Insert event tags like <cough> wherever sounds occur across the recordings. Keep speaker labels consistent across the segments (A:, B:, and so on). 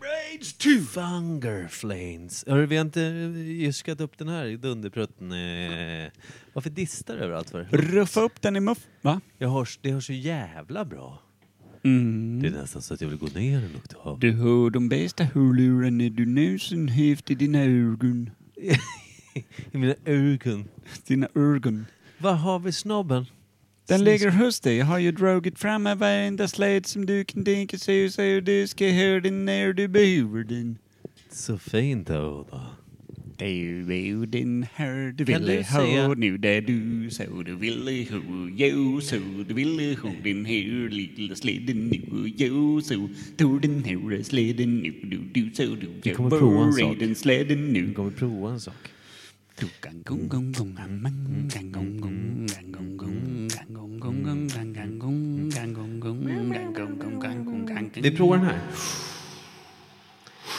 A: Blades 2!
B: Fungerflames. Hörru, vi har inte yskat upp den här dunderprutten. eh. Varför distar du överallt för?
A: Ruffa upp den i muff... Va?
B: Jag hörs, det hörs så jävla bra.
A: Mm.
B: Det är nästan så att jag vill gå ner en oktav.
A: Du hör de bästa hörlurarna du någonsin haft i dina ögon.
B: I mina ögon.
A: Dina ögon.
B: Var har vi snobben?
A: Den
B: Snis-
A: ligger hos dig. Jag har ju dragit fram en varenda släd som du kan tänka sig så du ska höra den när du behöver den.
B: Så fint Oda.
A: Du är den här du
B: Kan
A: ville
B: du säga-
A: ha nu där du så du ville ha jo så du ville ha den här lilla släden nu jo så du den här släden nu du du så du
B: Vi kommer prova en sak.
A: den släden nu
B: Vi kommer prova en sak. Vi provar den här.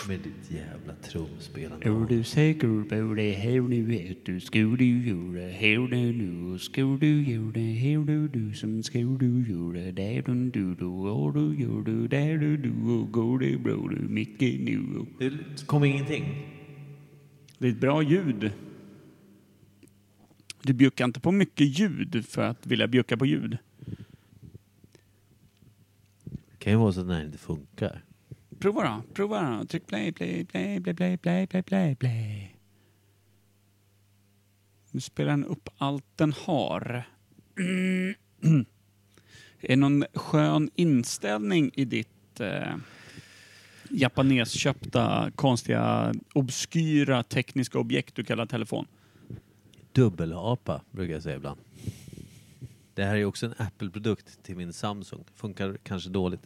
B: Med ditt jävla
A: Är
B: trumspelande.
A: du säker på det här nu att du ska du göra här nu nu ska du göra här du du som ska du göra där du du du och du gör du där du du och går det bra du mycket nu
B: Det kom ingenting.
A: Det är ett bra ljud. Du bjuckar inte på mycket ljud för att vilja bjucka på ljud.
B: Det kan ju vara så att den här inte funkar.
A: Prova då, prova då. Tryck play, play, play, play, play, play, play, play, play. Nu spelar den upp allt den har. <clears throat> Mm. Är det någon skön inställning i ditt eh, japanesköpta, konstiga, obskyra tekniska objekt du kallar telefon?
B: Dubbelapa brukar jag säga ibland. Det här är också en Apple-produkt till min Samsung. Funkar kanske dåligt.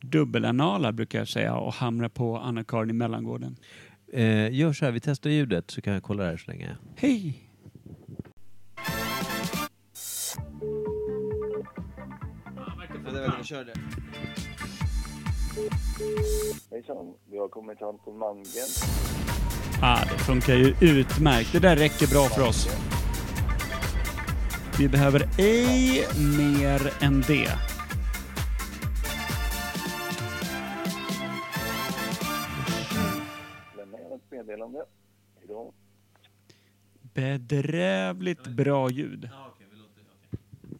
A: Dubbelanala brukar jag säga och hamra på Anna-Karin i mellangården.
B: Eh, gör så här, vi testar ljudet så kan jag kolla det här så länge.
A: Hej!
C: Hejsan, vi har kommit till Anton Malmgren.
A: Ah, det funkar ju utmärkt. Det där räcker bra för oss. Vi behöver ej mer än det.
C: Lämna gärna ett meddelande. Hejdå.
A: Bedrövligt bra ljud.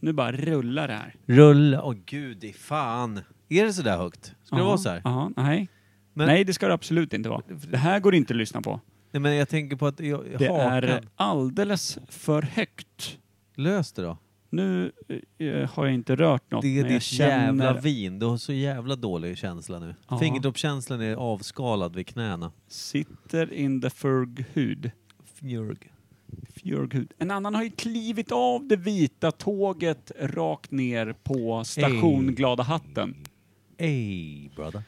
A: Nu bara rullar det här.
B: Rulla, åh gud i fan. Är det så där högt? Ska det
A: Aha,
B: vara så här?
A: aha, nej.
B: Men-
A: nej, det ska det absolut inte vara. Det här går inte att lyssna på.
B: Nej men jag tänker på att jag,
A: Det
B: hakan.
A: är alldeles för högt.
B: Lös det då.
A: Nu eh, har jag inte rört något,
B: Det är
A: men jag
B: ditt jävla
A: känner
B: vin. Du har så jävla dålig känsla nu.
A: Ja.
B: Fingertoppskänslan är avskalad vid knäna.
A: sitter in the furg hud.
B: Fjörg.
A: Fjörghud. En annan har ju klivit av det vita tåget rakt ner på station
B: Ey.
A: Glada hatten.
B: Ey brother.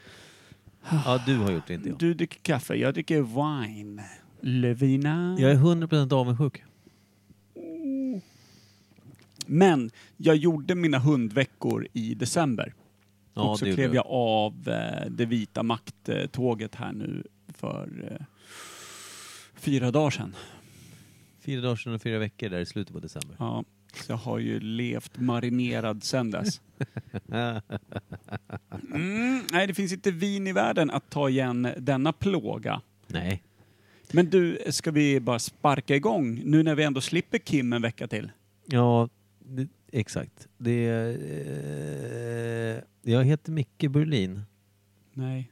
B: Ja du har gjort det, inte jag.
A: Du dricker kaffe, jag dricker wine. Levina.
B: Jag är 100% avundsjuk.
A: Men jag gjorde mina hundveckor i december.
B: Ja,
A: och så
B: det
A: klev
B: gjorde
A: jag av eh, det vita makttåget här nu för eh, fyra dagar sedan.
B: Fyra dagar sedan och fyra veckor där i slutet på december.
A: Ja, så jag har ju levt marinerad sedan <laughs> dess. Mm, nej, det finns inte vin i världen att ta igen denna plåga.
B: Nej.
A: Men du, ska vi bara sparka igång nu när vi ändå slipper Kim en vecka till?
B: Ja, det, exakt. Det, eh, jag heter Micke Berlin.
A: Nej,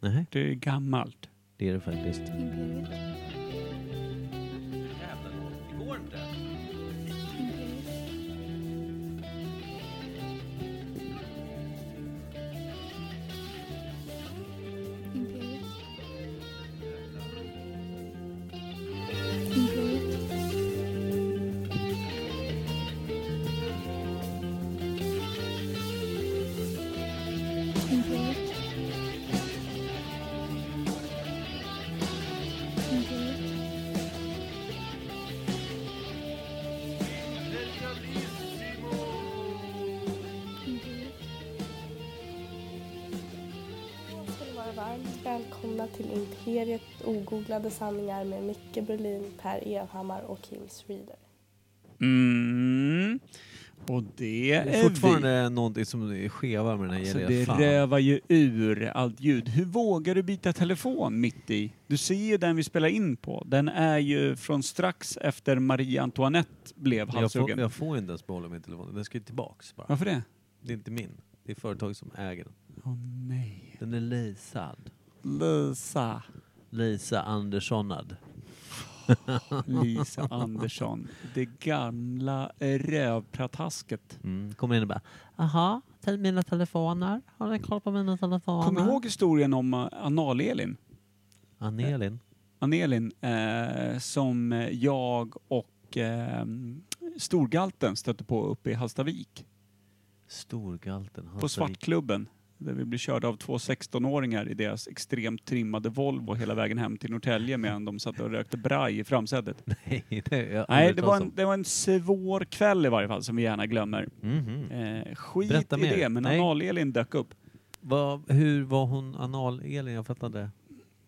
B: Nej,
A: det är gammalt.
B: det är det faktiskt.
D: Imperiet. Imperiet. Imperiet. Imperiet. Imperiet. Imperiet.
E: ska ni vara varmt välkomna till Imperiet ogooglade sanningar med Micke Berlin, Per Evhammar och Kim Reader.
A: Mm. Och det
B: Det
A: är
B: är fortfarande
A: vi.
B: någonting som skevar med den här
A: Alltså det
B: jävla fan.
A: rövar ju ur allt ljud. Hur vågar du byta telefon mitt i? Du ser ju den vi spelar in på. Den är ju från strax efter Marie Antoinette blev
B: jag,
A: halshuggen.
B: får, jag får inte ens behålla min telefon. Den ska ju tillbaks bara.
A: Varför det?
B: Det är inte min. Det är företaget som äger den.
A: Åh nej.
B: Den är leasad.
A: Lisa.
B: Lisa Anderssonad. <laughs>
A: Lisa Andersson. Det gamla rövpratasket.
B: Mm. Kommer in och bara, aha, te- mina telefoner. Har ni koll på mina telefoner?
A: Kommer du ihåg historien om eh, Anal-Elin?
B: Anelin.
A: Anelin eh, som jag och eh, Storgalten stötte på uppe i Hallstavik.
B: Storgalten.
A: På
B: Hallstavik.
A: Svartklubben. Där vi blev körda av två 16-åringar i deras extremt trimmade Volvo hela vägen hem till Norrtälje medan de satt och rökte braj i framsätet.
B: <laughs> Nej, det, har jag
A: Nej,
B: aldrig
A: det var,
B: talat
A: en,
B: om.
A: det var en svår kväll i varje fall som vi gärna glömmer.
B: Mhm.
A: Eh, skit
B: Berätta
A: i
B: mer.
A: det, men
B: Nej.
A: Anal-Elin dök upp.
B: Vad- hur var hon anal-Elin? Jag fattar inte.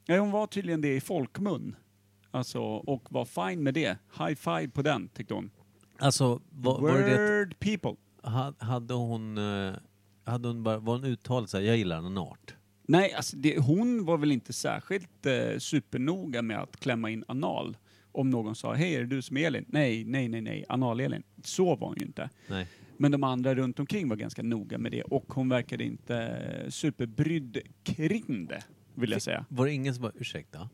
A: Ja, hon var tydligen det i folkmun. Alltså, och var fine med det. High five på den, tyckte hon.
B: Alltså, var, var det det
A: Word people.
B: att- ha- hade hon... eh, Hade hon bara, var hon uttalad såhär, jag gillar en art?
A: Nej, alltså det, hon var väl inte särskilt eh, supernoga med att klämma in anal. Om någon sa hej, är det du som är Elin? Nej, nej, nej, nej, anal-Elin. Så var hon ju inte.
B: Nej.
A: Men de andra runt omkring var ganska noga med det och hon verkade inte eh, superbrydd kring det, vill jag säga.
B: Var det ingen som bara, ursäkta?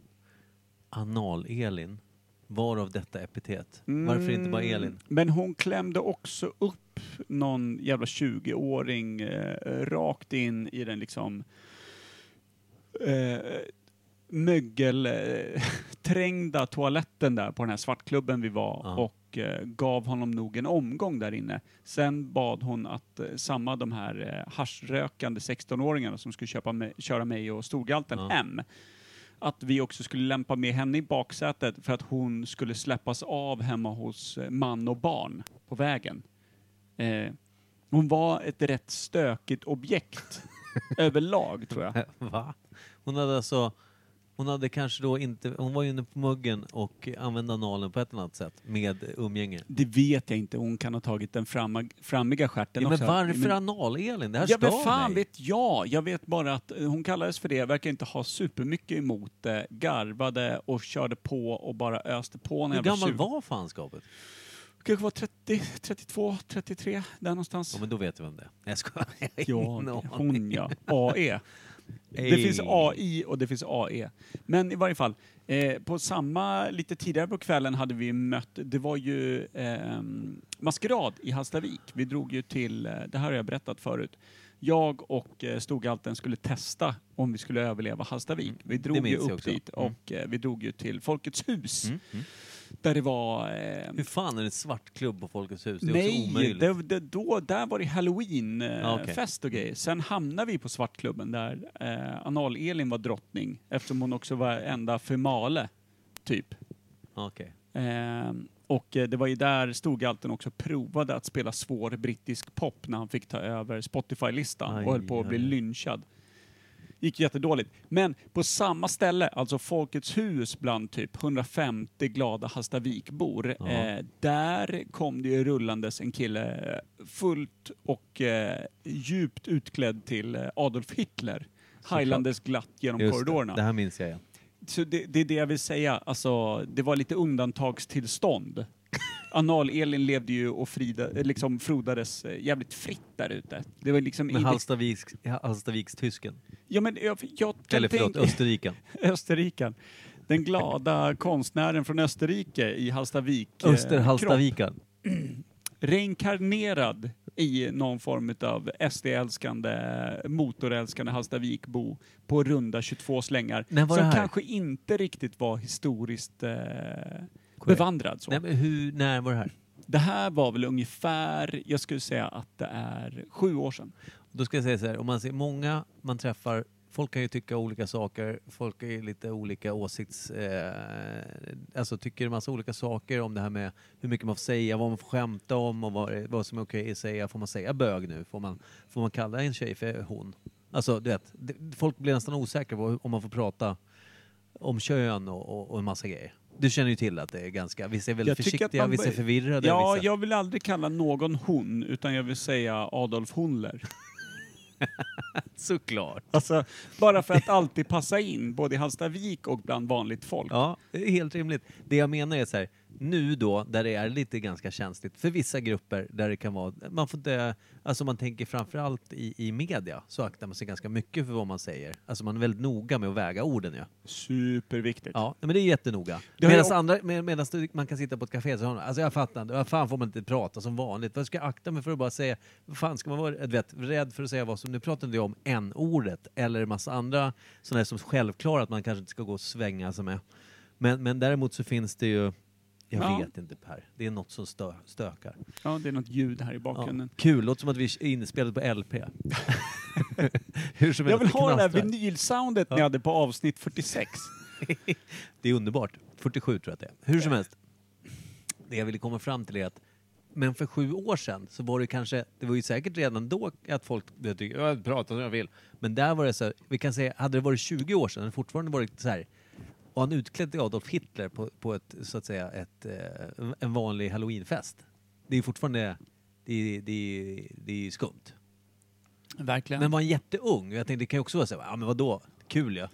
B: Anal-Elin? Varav detta epitet? Mm. Varför inte
A: Mm.
B: bara Elin? <laughs>
A: Men hon klämde också upp någon jävla 20-åring eh, rakt in i den liksom eh, <laughs> mögelträngda toaletten där på den här svartklubben vi var
B: Ja.
A: och eh, gav honom nog en omgång där inne. Sen bad hon att eh, samma de här eh, haschrökande 16-åringarna som skulle köpa mig, köra mig och Storgalten
B: Ja.
A: hem att vi också skulle lämpa med henne i baksätet för att hon skulle släppas av hemma hos eh, man och barn på vägen. Eh, hon var ett rätt stökigt
B: <laughs>
A: objekt överlag tror jag.
B: Va? Hon hade alltså... Hon hade kanske då inte... Hon var ju inne på muggen och använde analen på ett annat sätt med umgänge.
A: Det vet jag inte, hon kan ha tagit den framma, frammiga stjärten
B: Ja, men
A: också.
B: varför
A: Men-
B: anal-Elin? Det här
A: Ja men
B: stör
A: fan
B: mig.
A: vet jag! Jag vet bara att eh, hon kallades för det, verkar inte ha supermycket emot det, garvade och körde på och bara öste på när
B: Hur
A: jag var
B: gammal
A: 20.
B: var fanskapet?
A: Kanske var 30, 32, 33, där någonstans.
B: Ja, men då vet du vem det är. Nej, Jag skojar. <laughs> Jag har
A: Jag,
B: ingen aning.
A: hon ja. AE. Det
B: Ey.
A: finns AI och det finns AE. Men i varje fall, eh, på samma, lite tidigare på kvällen hade vi mött, det var ju ehm, maskerad i Hallstavik. Vi drog ju till, eh, det här har jag berättat förut, jag och eh, Storgalten skulle testa om vi skulle överleva Hallstavik. Vi drog ju
B: minns jag
A: upp
B: också.
A: dit
B: Mm.
A: och eh, vi drog ju till Folkets hus. Där det var... ehm,
B: Hur fan är det en svart klubb på Folkets hus? Det är också
A: Nej,
B: omöjligt.
A: det, det, då, där var det
B: Ja, okej.
A: halloween-fest och grejer. Sen hamnade vi på Svartklubben där eh, Anal-Elin var drottning eftersom hon också var enda female, typ.
B: Okej.
A: Eh, och eh, det var ju där Storgalten också provade att spela svår brittisk pop när han fick ta över Spotify-listan
B: Aj,
A: och höll på att bli
B: aj, aj.
A: lynchad. Gick jättedåligt. Men på samma ställe, alltså Folkets hus bland typ 150 glada Hallstavikbor,
B: Ja.
A: eh, där kom det ju rullandes en kille eh, fullt och eh, djupt utklädd till eh, Adolf Hitler. Heilandes glatt genom
B: Just
A: korridorerna.
B: det. det här minns jag igen.
A: Så det, det är det jag vill säga. Alltså, det var lite undantagstillstånd. Anal-Elin levde ju och frida, eh, liksom frodades eh, jävligt fritt där ute. Det var liksom...
B: Med
A: i-
B: Hallstaviks, Hallstavikstysken.
A: ja, men jag, jag kan
B: Eller förlåt,
A: tänka- <laughs>
B: Österriken.
A: Österriken. Den glada konstnären från Österrike i Hallstavik. eh,
B: Österhallstavikan.
A: kropp. Reinkarnerad i någon form av SD-älskande, motorälskande Hallstavikbo på runda 22 slängar.
B: När var
A: som
B: det här?
A: kanske inte riktigt var historiskt eh,
B: Korrekt.
A: bevandrad. Så.
B: Nej, men hur, när var det här?
A: Det här var väl ungefär, jag skulle säga att det är sju år sedan.
B: Då ska jag säga så här, om man ser många man träffar, folk kan ju tycka olika saker, folk är ju lite olika åsikts... Eh, alltså tycker en massa olika saker om det här med hur mycket man får säga, vad man får skämta om och vad, vad som är okej att säga. Får man säga bög nu? Får man, får man kalla en tjej för hon? Alltså du vet, det, folk blir nästan osäkra på om man får prata om kön och, och, och en massa grejer. Du känner ju till att det är ganska, vissa är väldigt
A: tycker att
B: försiktiga,
A: man
B: vissa är
A: bör-
B: förvirrade.
A: Ja,
B: vissa...
A: jag vill aldrig kalla någon hon, utan jag vill säga Adolf
B: <laughs>
A: Hundler.
B: Såklart.
A: Alltså, bara för att alltid passa in, både i Hallstavik och bland vanligt folk.
B: Ja, det är helt rimligt. Det jag menar är så här, nu då, där det är lite ganska känsligt för vissa grupper där det kan vara, man får inte, alltså man tänker framförallt i, i media så aktar man sig ganska mycket för vad man säger. Alltså man är väldigt noga med att väga orden ju.
A: Superviktigt.
B: Ja, men det är jättenoga.
A: Det har ju
B: Medan
A: också-
B: andra, med, medans du- man kan sitta på ett café och säga alltså jag fattar inte, vad fan får man inte prata som vanligt? Vad ska jag akta mig för att bara säga, vad fan ska man vara du vet, rädd för att säga vad som, nu pratade jag om n-ordet eller en massa andra sådana som självklara att man kanske inte ska gå och svänga sig med. Men, men däremot så finns det ju, jag
A: Ja.
B: vet inte Per, det är något som stö, stökar.
A: Ja, det är något ljud här i
B: Ja.
A: bakgrunden.
B: Kul, låter som att vi är inspelade på LP. <laughs> Hur som
A: Jag vill
B: helst,
A: ha det här
B: knastrar.
A: vinylsoundet ni hade på avsnitt 46.
B: Det är underbart. 47 tror jag att det är. Hur som helst. Det jag ville komma fram till är att men för sju år sedan så var det kanske, det var ju säkert redan då att folk jag tycker, jag pratar som jag vill. Men där var det så här, vi kan säga, hade det varit 20 år sedan, hade det fortfarande varit så här, och han utklädd till Adolf Hitler på, på ett, så att säga, ett, eh, en vanlig halloweenfest. Det är fortfarande, det, är- det, är- det är skumt.
A: Verkligen.
B: Men var han jätteung? Jag tänkte, det kan ju också vara så här, ja men vadå, kul ja.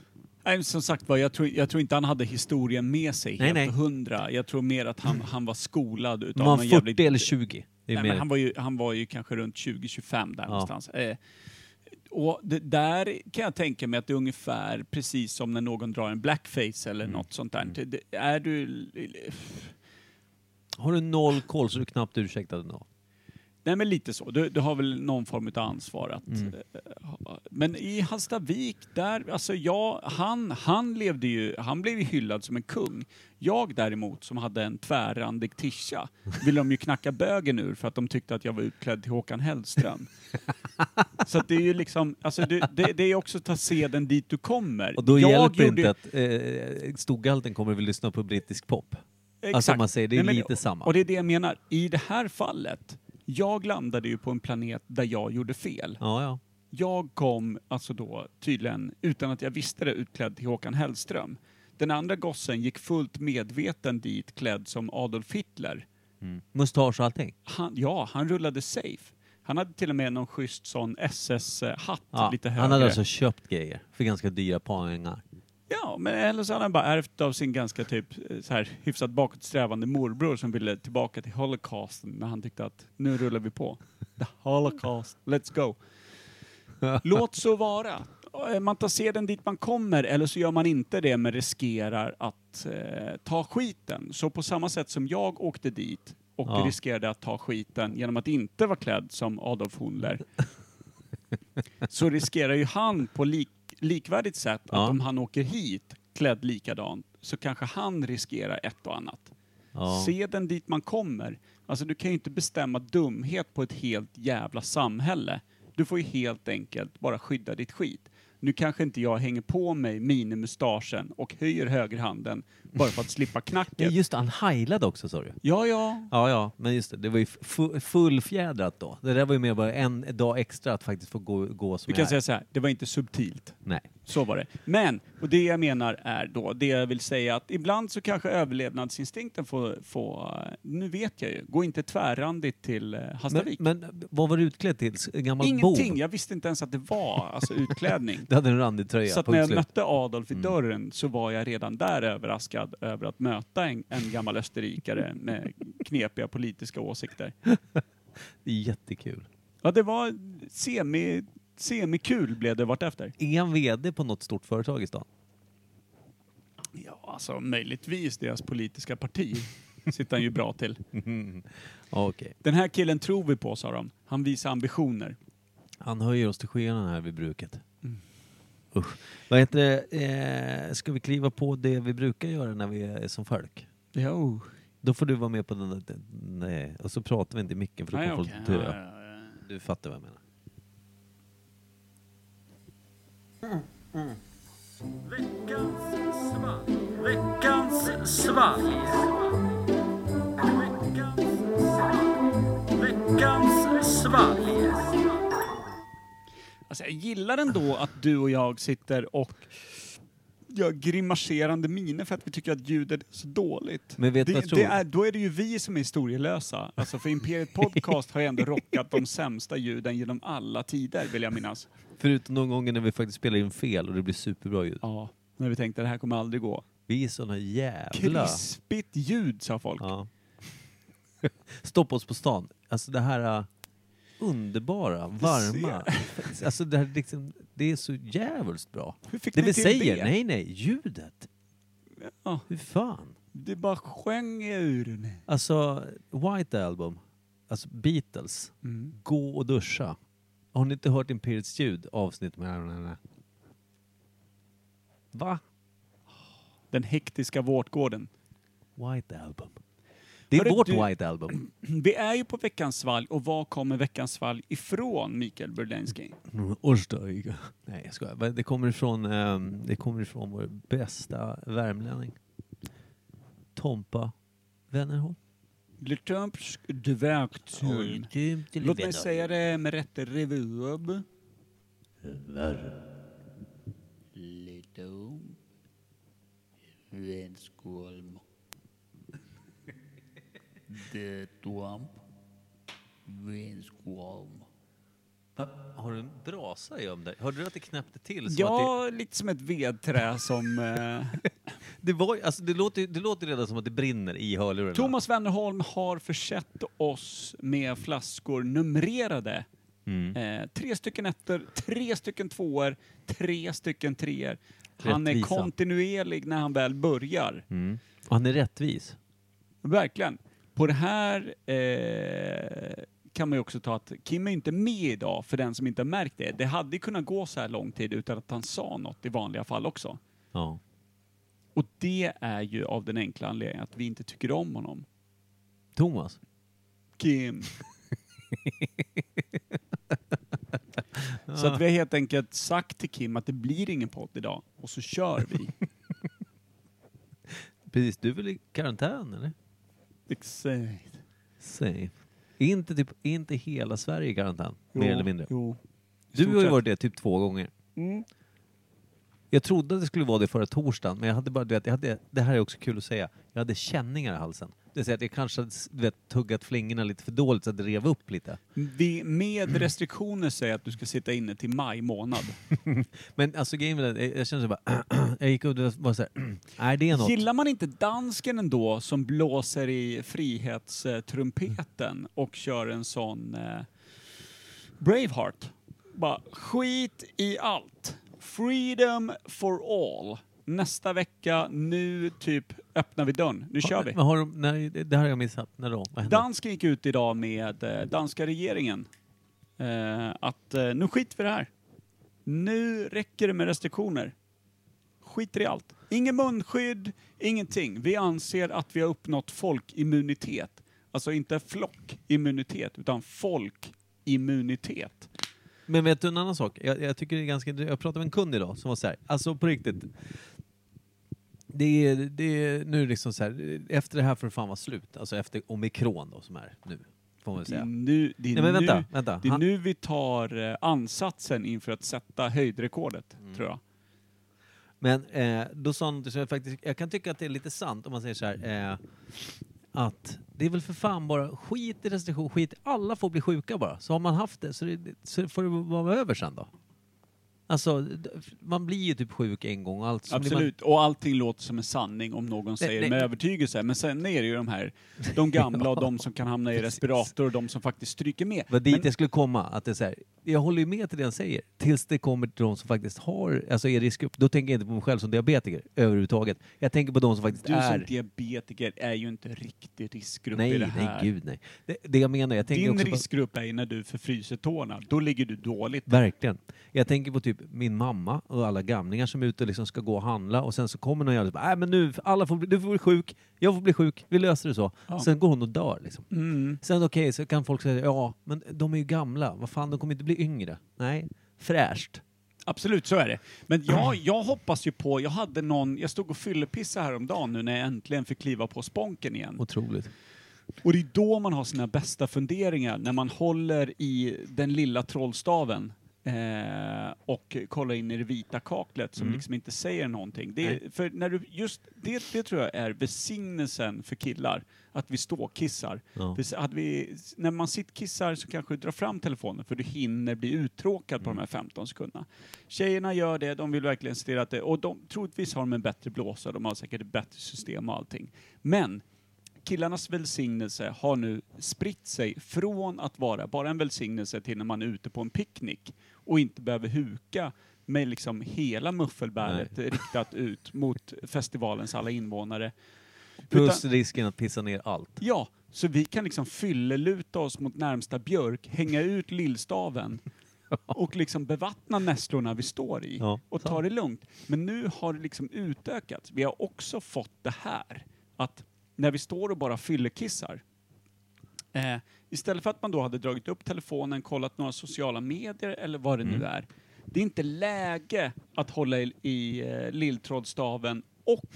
A: Nej, men som sagt var, jag tror, jag tror inte han hade historien med sig
B: Nej,
A: helt
B: nej. hundra.
A: hundra. Jag tror mer att han, han var skolad utav
B: Var han
A: någon
B: 40
A: jävligt-
B: eller 20? Det är
A: Nej,
B: mer-
A: men han, var ju, han var ju kanske runt 20-25 där någonstans. Eh, och det där kan jag tänka mig att det är ungefär precis som när någon drar en blackface
B: Mm.
A: eller något sånt där. Det- Det, är du...
B: Har du noll koll så är du knappt ursäktad ändå.
A: Nej men lite så. Du, du har väl någon form av ansvar att...
B: Mm.
A: eh, ha- Men i Hallstavik där, alltså jag, han, han levde ju, han blev ju hyllad som en kung. Jag däremot som hade en tvärrandig tischa ville de ju knacka bögen ur för att de tyckte att jag var utklädd till
B: <laughs>
A: Håkan Hellström. så att det är ju liksom, alltså du, det, det är också att ta seden dit du kommer.
B: Och då
A: jag
B: hjälper
A: gjorde-
B: inte att eh, storgalten kommer och vill lyssna på brittisk pop.
A: Exakt.
B: Alltså man säger, det är
A: men-
B: lite samma.
A: Och det är det jag menar. I det här fallet, jag landade ju på en planet där jag gjorde fel.
B: Ja, ja.
A: Jag kom alltså då tydligen, utan att jag visste det, utklädd till Håkan Hellström. Den andra gossen gick fullt medveten dit klädd som Adolf Hitler.
B: Mustasch och allting.
A: Han, ja, han rullade safe. Han hade till och med någon schysst sån SS-hatt
B: Ja.
A: lite högre.
B: Han hade alltså köpt grejer för ganska dyra pengar.
A: Ja, men eller så hade han bara ärvt av sin ganska typ eh, så här hyfsat bakåtsträvande morbror som ville tillbaka till holocausten när han tyckte att nu rullar vi på. The holocaust, let's go. Låt så vara. Eh, Man tar seden dit man kommer eller så gör man inte det men riskerar att eh, ta skiten. Så på samma sätt som jag åkte dit och
B: Ja.
A: riskerade att ta skiten genom att inte vara klädd som Adolf Hundler så riskerar ju han på lik, likvärdigt sätt att
B: Ja.
A: om han åker hit klädd likadant så kanske han riskerar ett och annat.
B: Ja.
A: Se den dit man kommer. Alltså du kan ju inte bestämma dumhet på ett helt jävla samhälle. Du får ju helt enkelt bara skydda ditt skit. Nu kanske inte jag hänger på mig minimustaschen och höjer högerhanden bara för att slippa
B: Nej,
A: knacket.
B: just det, han heilade också sa du.
A: Ja, ja.
B: <laughs> Ja, ja, men just det. Det var ju fu- fullfjädrat då. Det där var ju mer bara en dag extra att faktiskt få gå, gå som
A: Vi kan
B: jag är.
A: säga så här, det var inte subtilt.
B: Nej.
A: Så var det. Men, och det jag menar är då, det jag vill säga att ibland så kanske överlevnadsinstinkten får, får eh, nu vet jag ju, gå inte tvärrandigt till eh,
B: Men,
A: Hallstavik.
B: men vad var du utklädd till? S- Gammal
A: Ingenting,
B: bov?
A: jag visste inte ens att det var
B: <laughs>
A: alltså, utklädning.
B: Du hade en randig tröja,
A: Så att när
B: punkt
A: jag
B: slut.
A: mötte Adolf i
B: Mm.
A: dörren så var jag redan där överraskad över att möta en, en gammal österrikare med knepiga politiska åsikter.
B: Det är jättekul.
A: Ja, det var semi, semikul blev det vartefter.
B: Är han VD på något stort företag i stan?
A: Ja, alltså möjligtvis deras politiska parti sitter han ju bra till.
B: Ja, Okej.
A: Den här killen tror vi på, sa de. Han visar ambitioner.
B: Han höjer oss till skyarna här vid bruket.
A: Mm.
B: Usch. Vad heter det? Eh, ska vi kliva på det vi brukar göra när vi är som folk?
A: Jo.
B: Då får du vara med på den där... den- Nej. Och så pratar vi inte i micken för då
A: Nej,
B: kommer
A: okej.
B: folk
A: Ja,
B: dö.
A: ja, ja.
B: Du fattar vad jag menar.
A: Alltså, jag gillar ändå att du och jag sitter och gör grimaserande miner för att vi tycker att ljudet är så dåligt.
B: Men vet du vad jag
A: det,
B: tror?
A: det är, då är det ju vi som är historielösa. Alltså för Imperiet Podcast har ju ändå rockat de sämsta ljuden genom alla tider, vill jag minnas.
B: Förutom de gånger när vi faktiskt spelar in fel och det blir superbra ljud.
A: Ja. När vi tänkte det här kommer aldrig gå.
B: Vi är såna jävla...
A: Krispigt ljud, sa folk.
B: Ja. <laughs> Stoppa oss på stan. Alltså det här äh, underbara, varma. Alltså det, här liksom, det är så jävligt bra.
A: Hur fick
B: Det
A: ni
B: vi
A: till
B: säger,
A: det?
B: nej nej, ljudet.
A: Ja.
B: Hur fan?
A: Det bara sjöng ur mig.
B: Alltså, White Album, alltså Beatles,
A: Mm.
B: Gå och duscha. Har ni inte hört Imperiets ljud, avsnitt med... Va?
A: Den hektiska vårtgården.
B: White Album. Det är
A: Hörru,
B: vårt
A: du-
B: White
A: <clears throat>
B: Album.
A: Vi är ju på veckans svalg och var kommer veckans svalg ifrån, Mikael Burlensky?
B: Årsdag. Nej, jag skojar. Men Det kommer ifrån, ehm, det kommer ifrån vår bästa värmlänning. Tompa Wennerholm.
A: Le Temps de Verktun. Låt mig säga det med rätt revuab.
F: Lite om Vänskålm. Det Trump. Vänskålm.
B: Va? Har du en brasa i om dig? Hörde du att det knäppte till? Som att
A: Ja, lite som ett vedträ som...
B: <laughs>
A: Eh,
B: det, det, var, ju- alltså, det, låter, ju- det låter redan som att det brinner i hörlurarna.
A: Thomas Wennerholm har försett oss med flaskor numrerade.
B: Mm.
A: Eh, tre stycken ettor, tre stycken tvåor, tre stycken treor. Han är
B: Rättvisa.
A: kontinuerlig när han väl börjar.
B: Mm. Och Han är rättvis.
A: Verkligen. På det här eh, kan man ju också ta att Kim är inte med idag, för den som inte har märkt det. Det hade ju kunnat gå så här lång tid utan att han sa något i vanliga fall också.
B: Ja.
A: Och det är ju av den enkla anledningen att vi inte tycker om honom.
B: Thomas. <laughs>
A: Kim. så att vi har helt enkelt sagt till Kim att det blir ingen podd idag, och så kör vi.
B: <laughs> Precis, du är väl i karantän eller?
A: Exakt.
B: Säg. Är inte, typ, är inte hela Sverige i karantän? Mer eller mindre.
A: Jo.
B: Du har
A: stort
B: ju
A: sett.
B: varit det typ två gånger.
A: Mm.
B: Jag trodde att det skulle vara det förra torsdagen, men jag hade bara, du vet, jag hade, det här är också kul att säga, jag hade känningar i halsen. Det vill säga att jag kanske hade du vet, tuggat flingorna lite för dåligt så att det rev upp lite.
A: Vi med restriktioner säger att du ska sitta inne till maj månad.
B: Men alltså grejen med det, jag- jag kände så bara, <clears throat> jag gick upp och var såhär, <clears throat> nej det är något.
A: Gillar man inte dansken ändå som blåser i frihetstrumpeten och kör en sån eh, Braveheart? Bara skit i allt. Freedom for all. Nästa vecka, nu typ öppnar vi dörren. Nu kör vi.
B: Men har de, nej, det det här har jag missat, när då? Vad hände?
A: Dansken gick ut idag med eh, danska regeringen eh, att eh, nu skiter vi i det här. Nu räcker det med restriktioner. Skiter i allt. Ingen munskydd, ingenting. Vi anser att vi har uppnått folkimmunitet. Alltså inte flockimmunitet, utan folkimmunitet.
B: Men vet du en annan sak? Jag, jag tycker det är ganska Jag pratade med en kund idag som var så här, alltså på riktigt. Det är, det är nu liksom så här, efter det här får det fan vara slut. Alltså efter omikron då som är nu, får man väl
A: Det är
B: säga.
A: nu, det är
B: Nej men
A: nu,
B: vänta, vänta.
A: Det är
B: Han,
A: nu vi tar eh, ansatsen inför att sätta höjdrekordet,
B: Mm.
A: tror jag.
B: men eh, då sa han någonting som jag faktiskt, jag kan tycka att det är lite sant om man säger så här. Eh, att det är väl för fan bara skit i restriktion, skit i- alla får bli sjuka bara. Så har man haft det så, det, så får det vara över sen då. Alltså, d- man blir ju typ sjuk en gång och allt. så blir man-
A: Absolut, och allting låter som en sanning om någon säger
B: nej.
A: med övertygelse. Men sen är det ju de här, de gamla <laughs> och de som kan hamna i respirator och de som faktiskt stryker med.
B: var dit
A: Men
B: jag skulle komma. Att det är så här, jag håller ju med till det han säger. Tills det kommer till de som faktiskt har, alltså är riskgrupp. Då tänker jag inte på mig själv som diabetiker överhuvudtaget. Jag tänker på de som faktiskt
A: du som
B: är...
A: diabetiker är ju inte riktig riskgrupp i
B: Nej,
A: det
B: nej,
A: här.
B: gud nej. Det, det jag menar, jag tänker
A: Din
B: också
A: riskgrupp är ju när du förfryser tårna. Då ligger du dåligt.
B: på... Verkligen. Jag tänker på typ min mamma och alla gamlingar som är ute och liksom ska gå och handla och sen så kommer någon jävel och bara, nej men nu, alla får bli, du får bli sjuk, jag får bli sjuk, vi löser det så.
A: Ja.
B: Sen går hon och dör liksom.
A: Mm.
B: Sen okej, så kan folk säga, ja men de är ju gamla, vad fan de kommer inte bli yngre. Nej, fräscht.
A: Absolut, så är det. Men jag, jag hoppas ju på, jag hade någon, jag stod och fyllepissade häromdagen nu när jag äntligen fick kliva på sponken igen.
B: Otroligt.
A: Och det är då man har sina bästa funderingar, när man håller i den lilla trollstaven. Eh, och kolla in i det vita kaklet som liksom inte säger någonting. Det, är- för när du, just det, det tror jag är besignelsen för killar, att vi ståkissar.
B: Ja.
A: För s- Hade vi, när man sittkissar så kanske du drar fram telefonen för du hinner bli uttråkad på de
B: Mm.
A: här 15 sekunderna. Tjejerna gör det, de vill verkligen se till att det, och de, troligtvis har de en bättre blåsa, de har säkert ett bättre system och allting. Men killarnas välsignelse har nu spritt sig från att vara bara en välsignelse till när man är ute på en picknick och inte behöver huka med liksom hela muffelbäret riktat ut mot festivalens alla invånare.
B: Plus risken att pissa ner allt.
A: Ja, så vi kan liksom fylleluta oss mot närmsta björk, hänga ut lillstaven <laughs> och liksom bevattna nässlorna vi står i
B: Ja,
A: och ta det lugnt. Men nu har det liksom utökats. Vi har också fått det här att när vi står och bara fyllekissar Eh, istället för att man då hade dragit upp telefonen, kollat några sociala medier eller vad det nu
B: Mm.
A: är. Det är inte läge att hålla i, i eh, lilltrådstaven och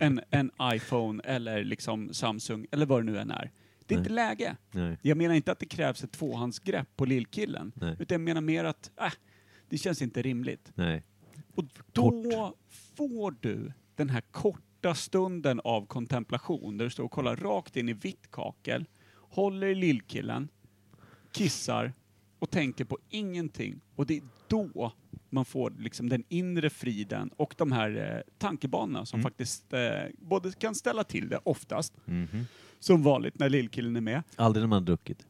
A: en, en iPhone eller liksom Samsung eller vad det nu än är. Det är inte läge.
B: Nej.
A: Jag menar inte att det krävs ett tvåhandsgrepp på lillkillen.
B: Nej.
A: Utan jag menar mer att äh, det känns inte rimligt.
B: Nej.
A: Och då får du den här korta stunden av kontemplation där du står och kollar rakt in i vitt kakel, håller i lillkillen, kissar och tänker på ingenting. Och det är då man får liksom den inre friden och de här eh, tankebanorna som faktiskt eh, både kan ställa till det oftast, som vanligt när lillkillen är med,
B: Mhm. Aldrig när man har druckit.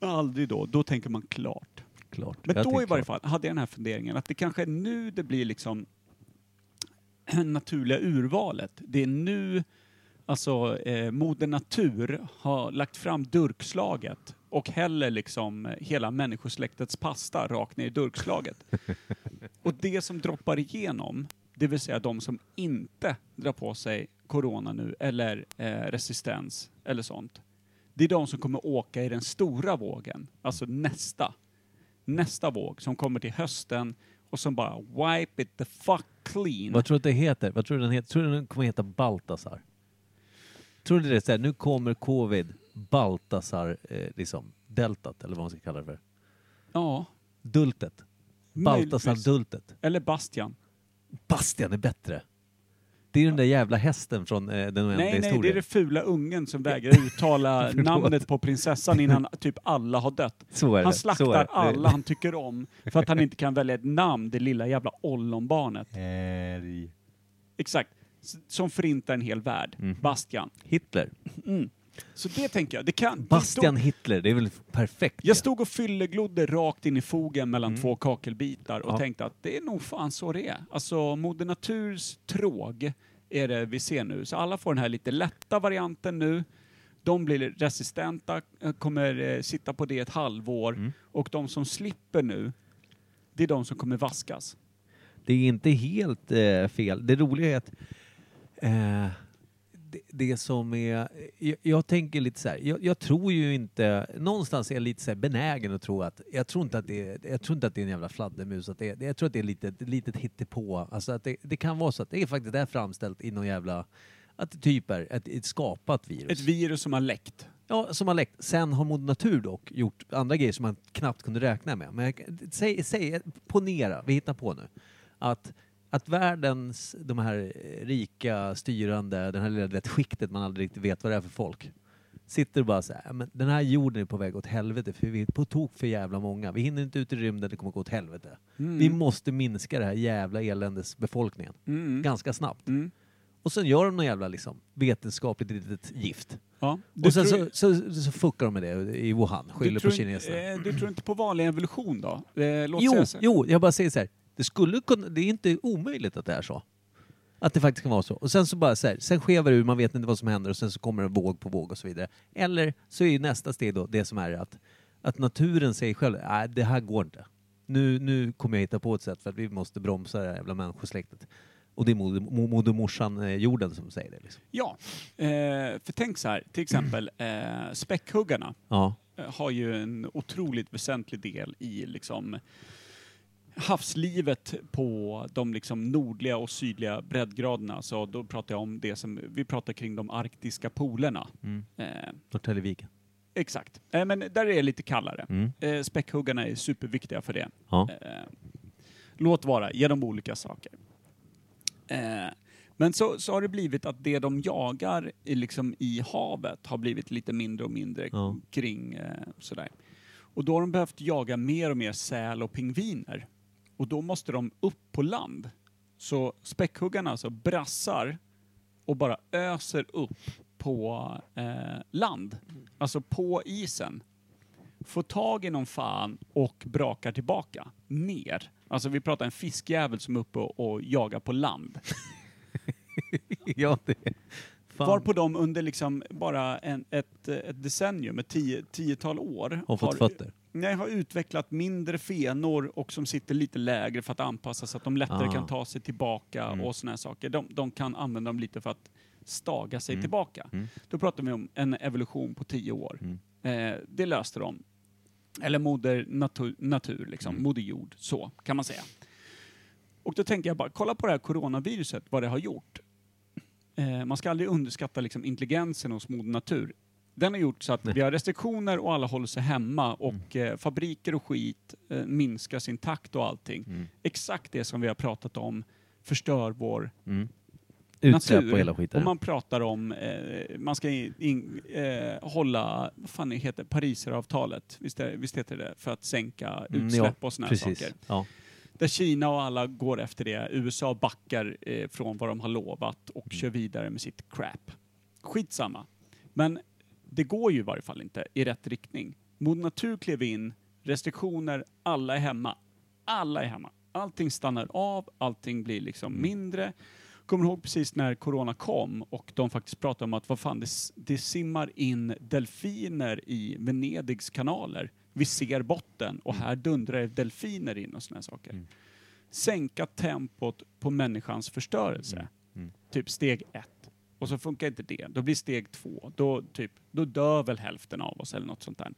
A: aldrig då, då tänker man klart.
B: Klart.
A: Men
B: Jag
A: då
B: tänker
A: i varje
B: klart.
A: fall hade jag den här funderingen att det kanske är nu det blir liksom <clears throat> naturliga urvalet. Det är nu alltså eh, Moder Natur har lagt fram durkslaget och häller liksom eh, hela människosläktets pasta rakt ner i durkslaget. och det som droppar igenom, det vill säga de som inte drar på sig corona nu eller eh, resistens eller sånt. Det är de som kommer åka i den stora vågen, alltså nästa nästa våg som kommer till hösten och som bara wipe it the fuck clean.
B: Vad tror du att det heter? Vad tror du den heter? Tror du den kommer heta Baltasar? Tror du det är såhär, nu kommer covid, Baltasar, eh, liksom, deltat eller vad man ska kalla det för.
A: Ja,
B: Dultet.
A: möjligtvis.
B: Baltasar-dultet.
A: Eller Bastian.
B: Bastian är bättre. Det är den där jävla hästen från eh, den oändliga
A: Nej, nej,
B: historien.
A: det är det fula ungen som
B: <laughs>
A: vägrar uttala
B: Förlåt.
A: namnet på prinsessan innan typ alla har dött.
B: Så är
A: Han
B: det, så är
A: slaktar
B: det.
A: alla han tycker om för att han inte kan välja ett namn, det lilla jävla ollonbarnet. Exakt. S- Som förintar en hel värld.
B: Mhm.
A: Bastian.
B: Hitler.
A: Så det tänker jag, det kan...
B: Bastian Hitler, det är väl perfekt?
A: Jag stod och fylleglodde rakt in i fogen mellan två kakelbitar och
B: Mm. Ja.
A: tänkte att det är nog fan så det är. Alltså Moder Naturs tråg är det vi ser nu. Så alla får den här lite lätta varianten nu. De blir resistenta, eh, kommer eh, sitta på det ett halvår
B: Mm.
A: och de som slipper nu, det är de som kommer vaskas.
B: Det är inte helt eh, fel. Det roliga är att eh, det, det som är... Jag, jag tänker lite så här. Jag, jag tror ju inte... Någonstans är jag lite så här benägen att tro att... Jag tror inte att det är, jag tror inte att det är en jävla fladdermus. Att det, är- jag tror att det är lite ett litet hittepå. Alltså att det, det kan vara så att det är faktiskt det är framställt i någon jävla... Att det typ är ett, ett skapat virus.
A: Ett virus som har läckt.
B: Ja, som har läckt. Sen har Moder Natur dock gjort andra grejer som man knappt kunde räkna med. Men jag, säg, säg, ponera, vi hittar på nu, att, att världens, de här eh, rika, styrande, den här lilla det skiktet man aldrig riktigt vet vad det är för folk, sitter och bara så här, "Ja, men den här jorden är på väg åt helvete för vi är på tok för jävla många. Vi hinner inte ut i rymden, det kommer gå åt helvete.
A: Mm.
B: Vi måste minska det här jävla eländes befolkningen
A: Mm.
B: ganska snabbt. Och sen gör de någon jävla liksom, vetenskapligt litet gift.
A: Ja. Du
B: Och sen
A: tror-
B: så, så, så fuckar de med det i Wuhan,
A: du
B: skyller på
A: tror in-
B: kineserna.
A: eh, Du tror inte på vanlig evolution då? Eh, Låt
B: jo,
A: säga så.
B: jo, jag bara säger så här. Det, skulle kunna, det är inte omöjligt att det är så. Att det faktiskt kan vara så. Och sen så bara så här, sen skevar det ur, man vet inte vad som händer och sen så kommer det våg på våg och så vidare. Eller så är ju nästa steg då det som är att, att naturen säger själv, nej det här går inte. Nu, nu kommer jag hitta på ett sätt för att vi måste bromsa det här jävla människosläktet. Och det är moder- mo- modermorsan eh, jorden som säger det. Liksom.
A: Ja, eh, för tänk så här, till exempel eh, späckhuggarna
B: Ja.
A: eh, har ju en otroligt väsentlig del i liksom havslivet på de liksom nordliga och sydliga breddgraderna. Så då pratar jag om det som, vi pratar kring de arktiska polerna. Eh,
B: Norrtäljeviken.
A: Exakt. Eh, men där är det lite kallare.
B: Mm.
A: Eh, späckhuggarna är superviktiga för det.
B: Ja. <laughs>
A: Eh, låt vara, genom olika saker. Eh, men så, så har det blivit att det de jagar i, liksom, i havet har blivit lite mindre och mindre
B: Ja.
A: kring eh, sådär. Och då har de behövt jaga mer och mer säl och pingviner. Och då måste de upp på land. Så späckhuggarna alltså brassar och bara öser upp på eh, land. Alltså på isen får tag i någon fan och brakar tillbaka ner. Alltså vi pratar en fiskjävel som är uppe och, och jagar på land.
B: ja, det... Fan.
A: Varpå de under liksom bara en, ett, eh, ett decennium, ett tio, tiotal år
B: Har fått fötter.
A: Nej, har utvecklat mindre fenor och som sitter lite lägre för att anpassa så att de lättare
B: Ah.
A: kan ta sig tillbaka och såna här saker. De, de kan använda dem lite för att staga sig tillbaka. Då pratar vi om en evolution på tio år. Eh, det löste de. Eller moder natur, natur liksom. Moder jord, så kan man säga. Och då tänker jag bara, kolla på det här coronaviruset, vad det har gjort. Eh, man ska aldrig underskatta liksom, intelligensen hos moder natur. Den har gjort så att vi har restriktioner och alla håller sig hemma och eh, fabriker och skit eh, minskar sin takt och allting. Exakt det som vi har pratat om förstör vår
B: Utsläpp
A: Mm. natur.
B: och hela skiten.
A: Och man pratar om, eh, man ska in, in, eh, hålla, vad fan det heter, Pariseravtalet, visst, är, visst heter det, för att sänka
B: Mm,
A: utsläpp och såna här
B: Precis.
A: saker.
B: Ja.
A: Där Kina och alla går efter det. USA backar eh, från vad de har lovat och kör vidare med sitt crap. Skitsamma. Men det går ju i varje fall inte i rätt riktning. Moder Natur klev in, restriktioner, alla är hemma. Alla är hemma. Allting stannar av, allting blir liksom mindre. Kommer ihåg precis när corona kom och de faktiskt pratade om att vad fan, det, s- det simmar in delfiner i Venedigs kanaler. Vi ser botten och här dundrar det delfiner in och sådana saker. Sänka tempot på människans förstörelse.
B: Mm.
A: Typ steg ett. Och så funkar inte det. Då blir steg två. Då, typ, då dör väl hälften av oss eller något sånt där.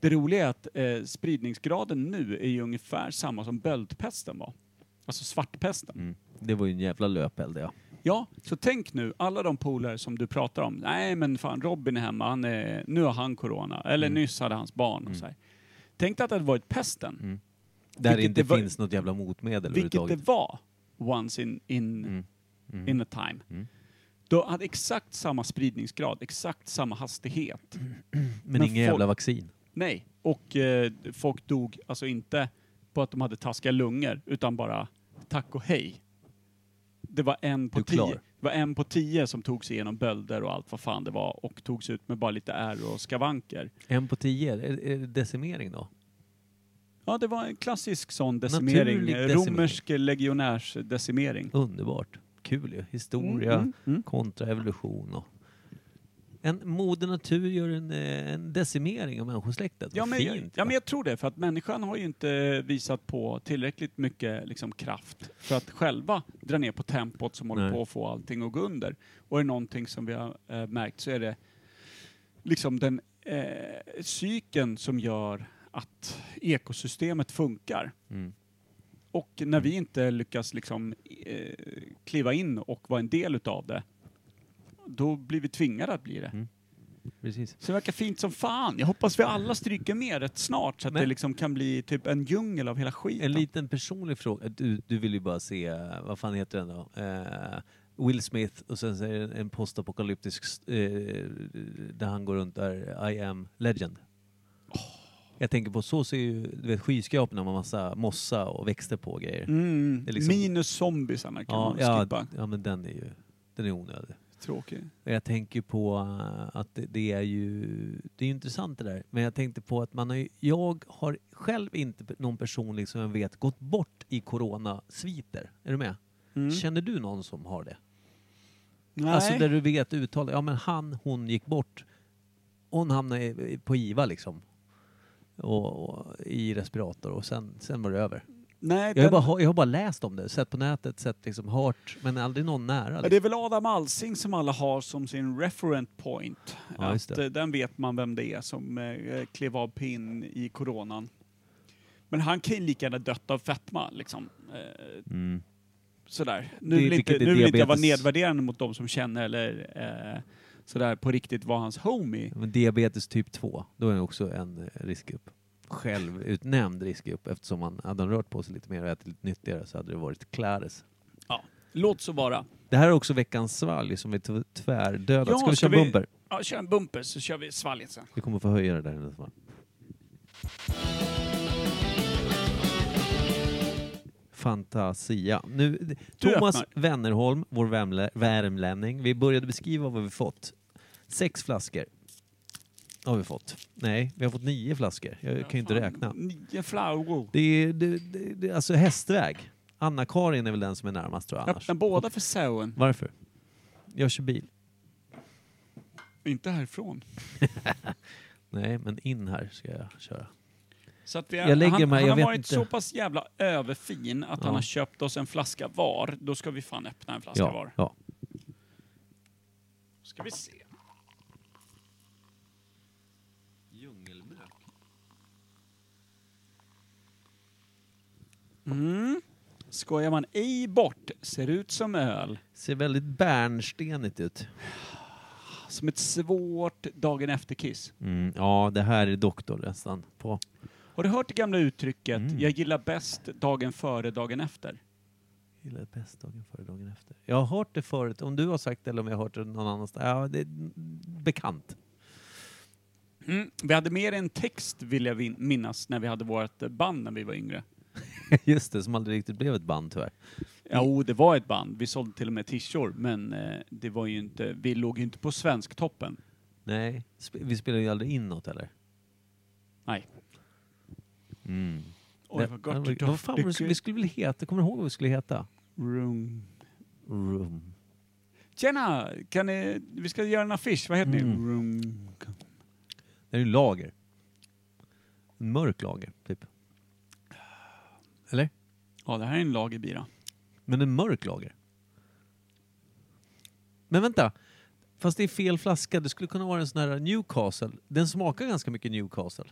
A: Det roliga är att eh, spridningsgraden nu är ju ungefär samma som böldpesten var. Alltså svartpesten.
B: Mm. Det var ju en jävla löpeld, ja.
A: Ja, så tänk nu, alla de polare som du pratar om. Nej men fan, Robin är hemma, han är, nu har han corona. Eller
B: Mm.
A: nyss hade hans barn. Och så här. Tänk dig att det hade varit pesten,
B: Mm. Där det
A: Vilket
B: inte
A: det var-
B: finns något jävla motmedel
A: vilket det
B: överhuvudtaget. Mm.
A: var once in, in, in a time. Då hade exakt samma spridningsgrad, exakt samma hastighet.
B: Mm. Men,
A: men
B: inget
A: folk-
B: jävla vaccin.
A: Nej, och eh, folk dog alltså inte på att de hade taskiga lungor, utan bara tack och hej. Det var en på
B: Du är klar.
A: tio. Det var en på tio som tog sig igenom bölder och allt vad fan det var och togs ut med bara lite ärr och skavanker.
B: En på tio, är, är det decimering då?
A: Ja, det var en klassisk sån decimering.
B: Naturlig
A: eh,
B: decimering.
A: Romersk legionärsdecimering.
B: Underbart. Kul ju. Historia
A: Mm, mm, mm.
B: kontra evolution och... En moder natur gör en, eh, en decimering av människosläktet.
A: Ja
B: Vad
A: men,
B: Fint.
A: ja,
B: va?
A: men jag tror det, för att människan har ju inte visat på tillräckligt mycket liksom, kraft för att själva dra ner på tempot som håller
B: Nej.
A: på att få allting att gå under. Och är det någonting som vi har eh, märkt så är det liksom den eh, cykeln som gör att ekosystemet funkar.
B: Mm.
A: Och när vi inte lyckas liksom, eh, kliva in och vara en del utav det, då blir vi tvingade att bli det.
B: Precis.
A: Så det verkar fint som fan. Jag hoppas vi alla stryker med rätt snart så att
B: Men-
A: det liksom kan bli typ en djungel av hela skiten.
B: En liten personlig fråga. Eh, Du, du vill ju bara se, eh, vad fan heter den då? Eh, Will Smith och sen så är det en postapokalyptisk st- eh, där han går runt där, I am legend.
A: Oh.
B: Jag tänker på, så ser ju du vet, skyskraporna med massa mossa och växter på och grejer.
A: mm.
B: det är liksom-
A: Minus zombisarna kan
B: ja,
A: man
B: ja,
A: skippa.
B: ja, men den är ju den är onödig.
A: Tråkig.
B: Och Jag tänker på eh, att det, det är ju det är ju intressant det där. Men jag tänkte på att man har, ju- jag har själv inte pe- någon personlig som jag vet gått bort i coronasviter. Är du med?
A: Mm.
B: Känner du någon som har det?
A: Nej.
B: Alltså där du vet uttalet, ja men han, hon gick bort. Hon hamnade i- i- på IVA liksom. Och, och i respirator och sen, sen var det över.
A: Nej,
B: Jag har,
A: den...
B: bara, jag har bara läst om det, sett på nätet, sett liksom, hört, men aldrig någon nära. liksom.
A: Ja, Det är väl Adam Alsing som alla har som sin referent point.
B: Ja, just
A: att,
B: det.
A: eh, den vet man vem det är som eh, klev av pinn i coronan. Men han kan ju lika gärna dött av fetma liksom. Eh,
B: Mm.
A: sådär. Nu
B: Det-
A: vill, inte,
B: vilket är
A: nu vill inte jag vara
B: diabetes.
A: nedvärderande mot de som känner eller eh, sådär på riktigt var hans homie.
B: Men diabetes typ 2, då är det också en eh, riskgrupp. Självutnämnd riskgrupp eftersom man hade han rört på sig lite mer och ätit lite nyttigare så hade det varit Clares.
A: Låt så vara.
B: Det här är också veckans svalg som vi t- tvärdödat.
A: Ja,
B: ska vi
A: ska
B: köra
A: vi-
B: bumper?
A: Ja, kör en bumper så kör vi svalget sen.
B: Vi kommer få höja det där i nästa fall. Fantasia. Nu,
A: Du
B: Thomas
A: öppnar.
B: Wennerholm, vår värmlä- värmlänning. Vi började beskriva vad vi fått. Sex flaskor har vi fått. Nej, vi har fått nio flaskor. Jag kan ju inte
A: Fan,
B: räkna.
A: Nio flowor.
B: Det är det, det, det, alltså hästväg. Anna-Karin är väl den som är närmast tror jag annars.
A: Öppna båda för sauen.
B: Varför? Jag kör bil.
A: Inte härifrån.
B: Nej, men in här ska jag köra.
A: Så att vi
B: Jag lägger
A: han,
B: mig,
A: han
B: jag
A: har
B: vet
A: varit
B: inte.
A: så pass jävla överfin att
B: Ja.
A: han har köpt oss en flaska var. Då ska vi fan öppna en flaska
B: Ja,
A: var.
B: ja.
A: Ska vi se. Mm. Skojar man ej bort, ser ut som öl.
B: Ser väldigt bärnstenigt ut.
A: Som ett svårt dagen efter-kiss.
B: Mm, ja, det här är doktor nästan på.
A: Har du hört det gamla uttrycket
B: Mm.
A: “jag gillar bäst dagen före, dagen efter”?
B: Gillar bäst dagen före, dagen efter. Jag har hört det förut, om du har sagt det eller om jag har hört det någon annanstans. Ja, det är bekant. <laughs>
A: Mm. Vi hade mer en text, vill jag vin- minnas, när vi hade vårt band när vi var yngre.
B: Just det, som aldrig riktigt blev ett band tyvärr.
A: Jo, det var ett band. Vi sålde till och med t-shirts, men eh, det var ju inte, vi låg ju inte på Svensktoppen.
B: Nej, sp- vi spelar ju aldrig in något heller.
A: Nej.
B: Mm.
A: Oj, vad gott.
B: vad, vad fan var det, som- vi skulle väl heta? Kommer du ihåg vad vi skulle heta?
A: Room.
B: Room.
A: Tjena! Kan ni, vi ska göra en affisch. Vad heter
B: Mm.
A: ni? Room.
B: Det är ju lager. En mörk lager, typ. Eller?
A: Ja, det här är en lagerbira.
B: Men en mörk lager. Men vänta. Fast det är fel flaska. Det skulle kunna vara en sån här Newcastle. Den smakar ganska mycket Newcastle.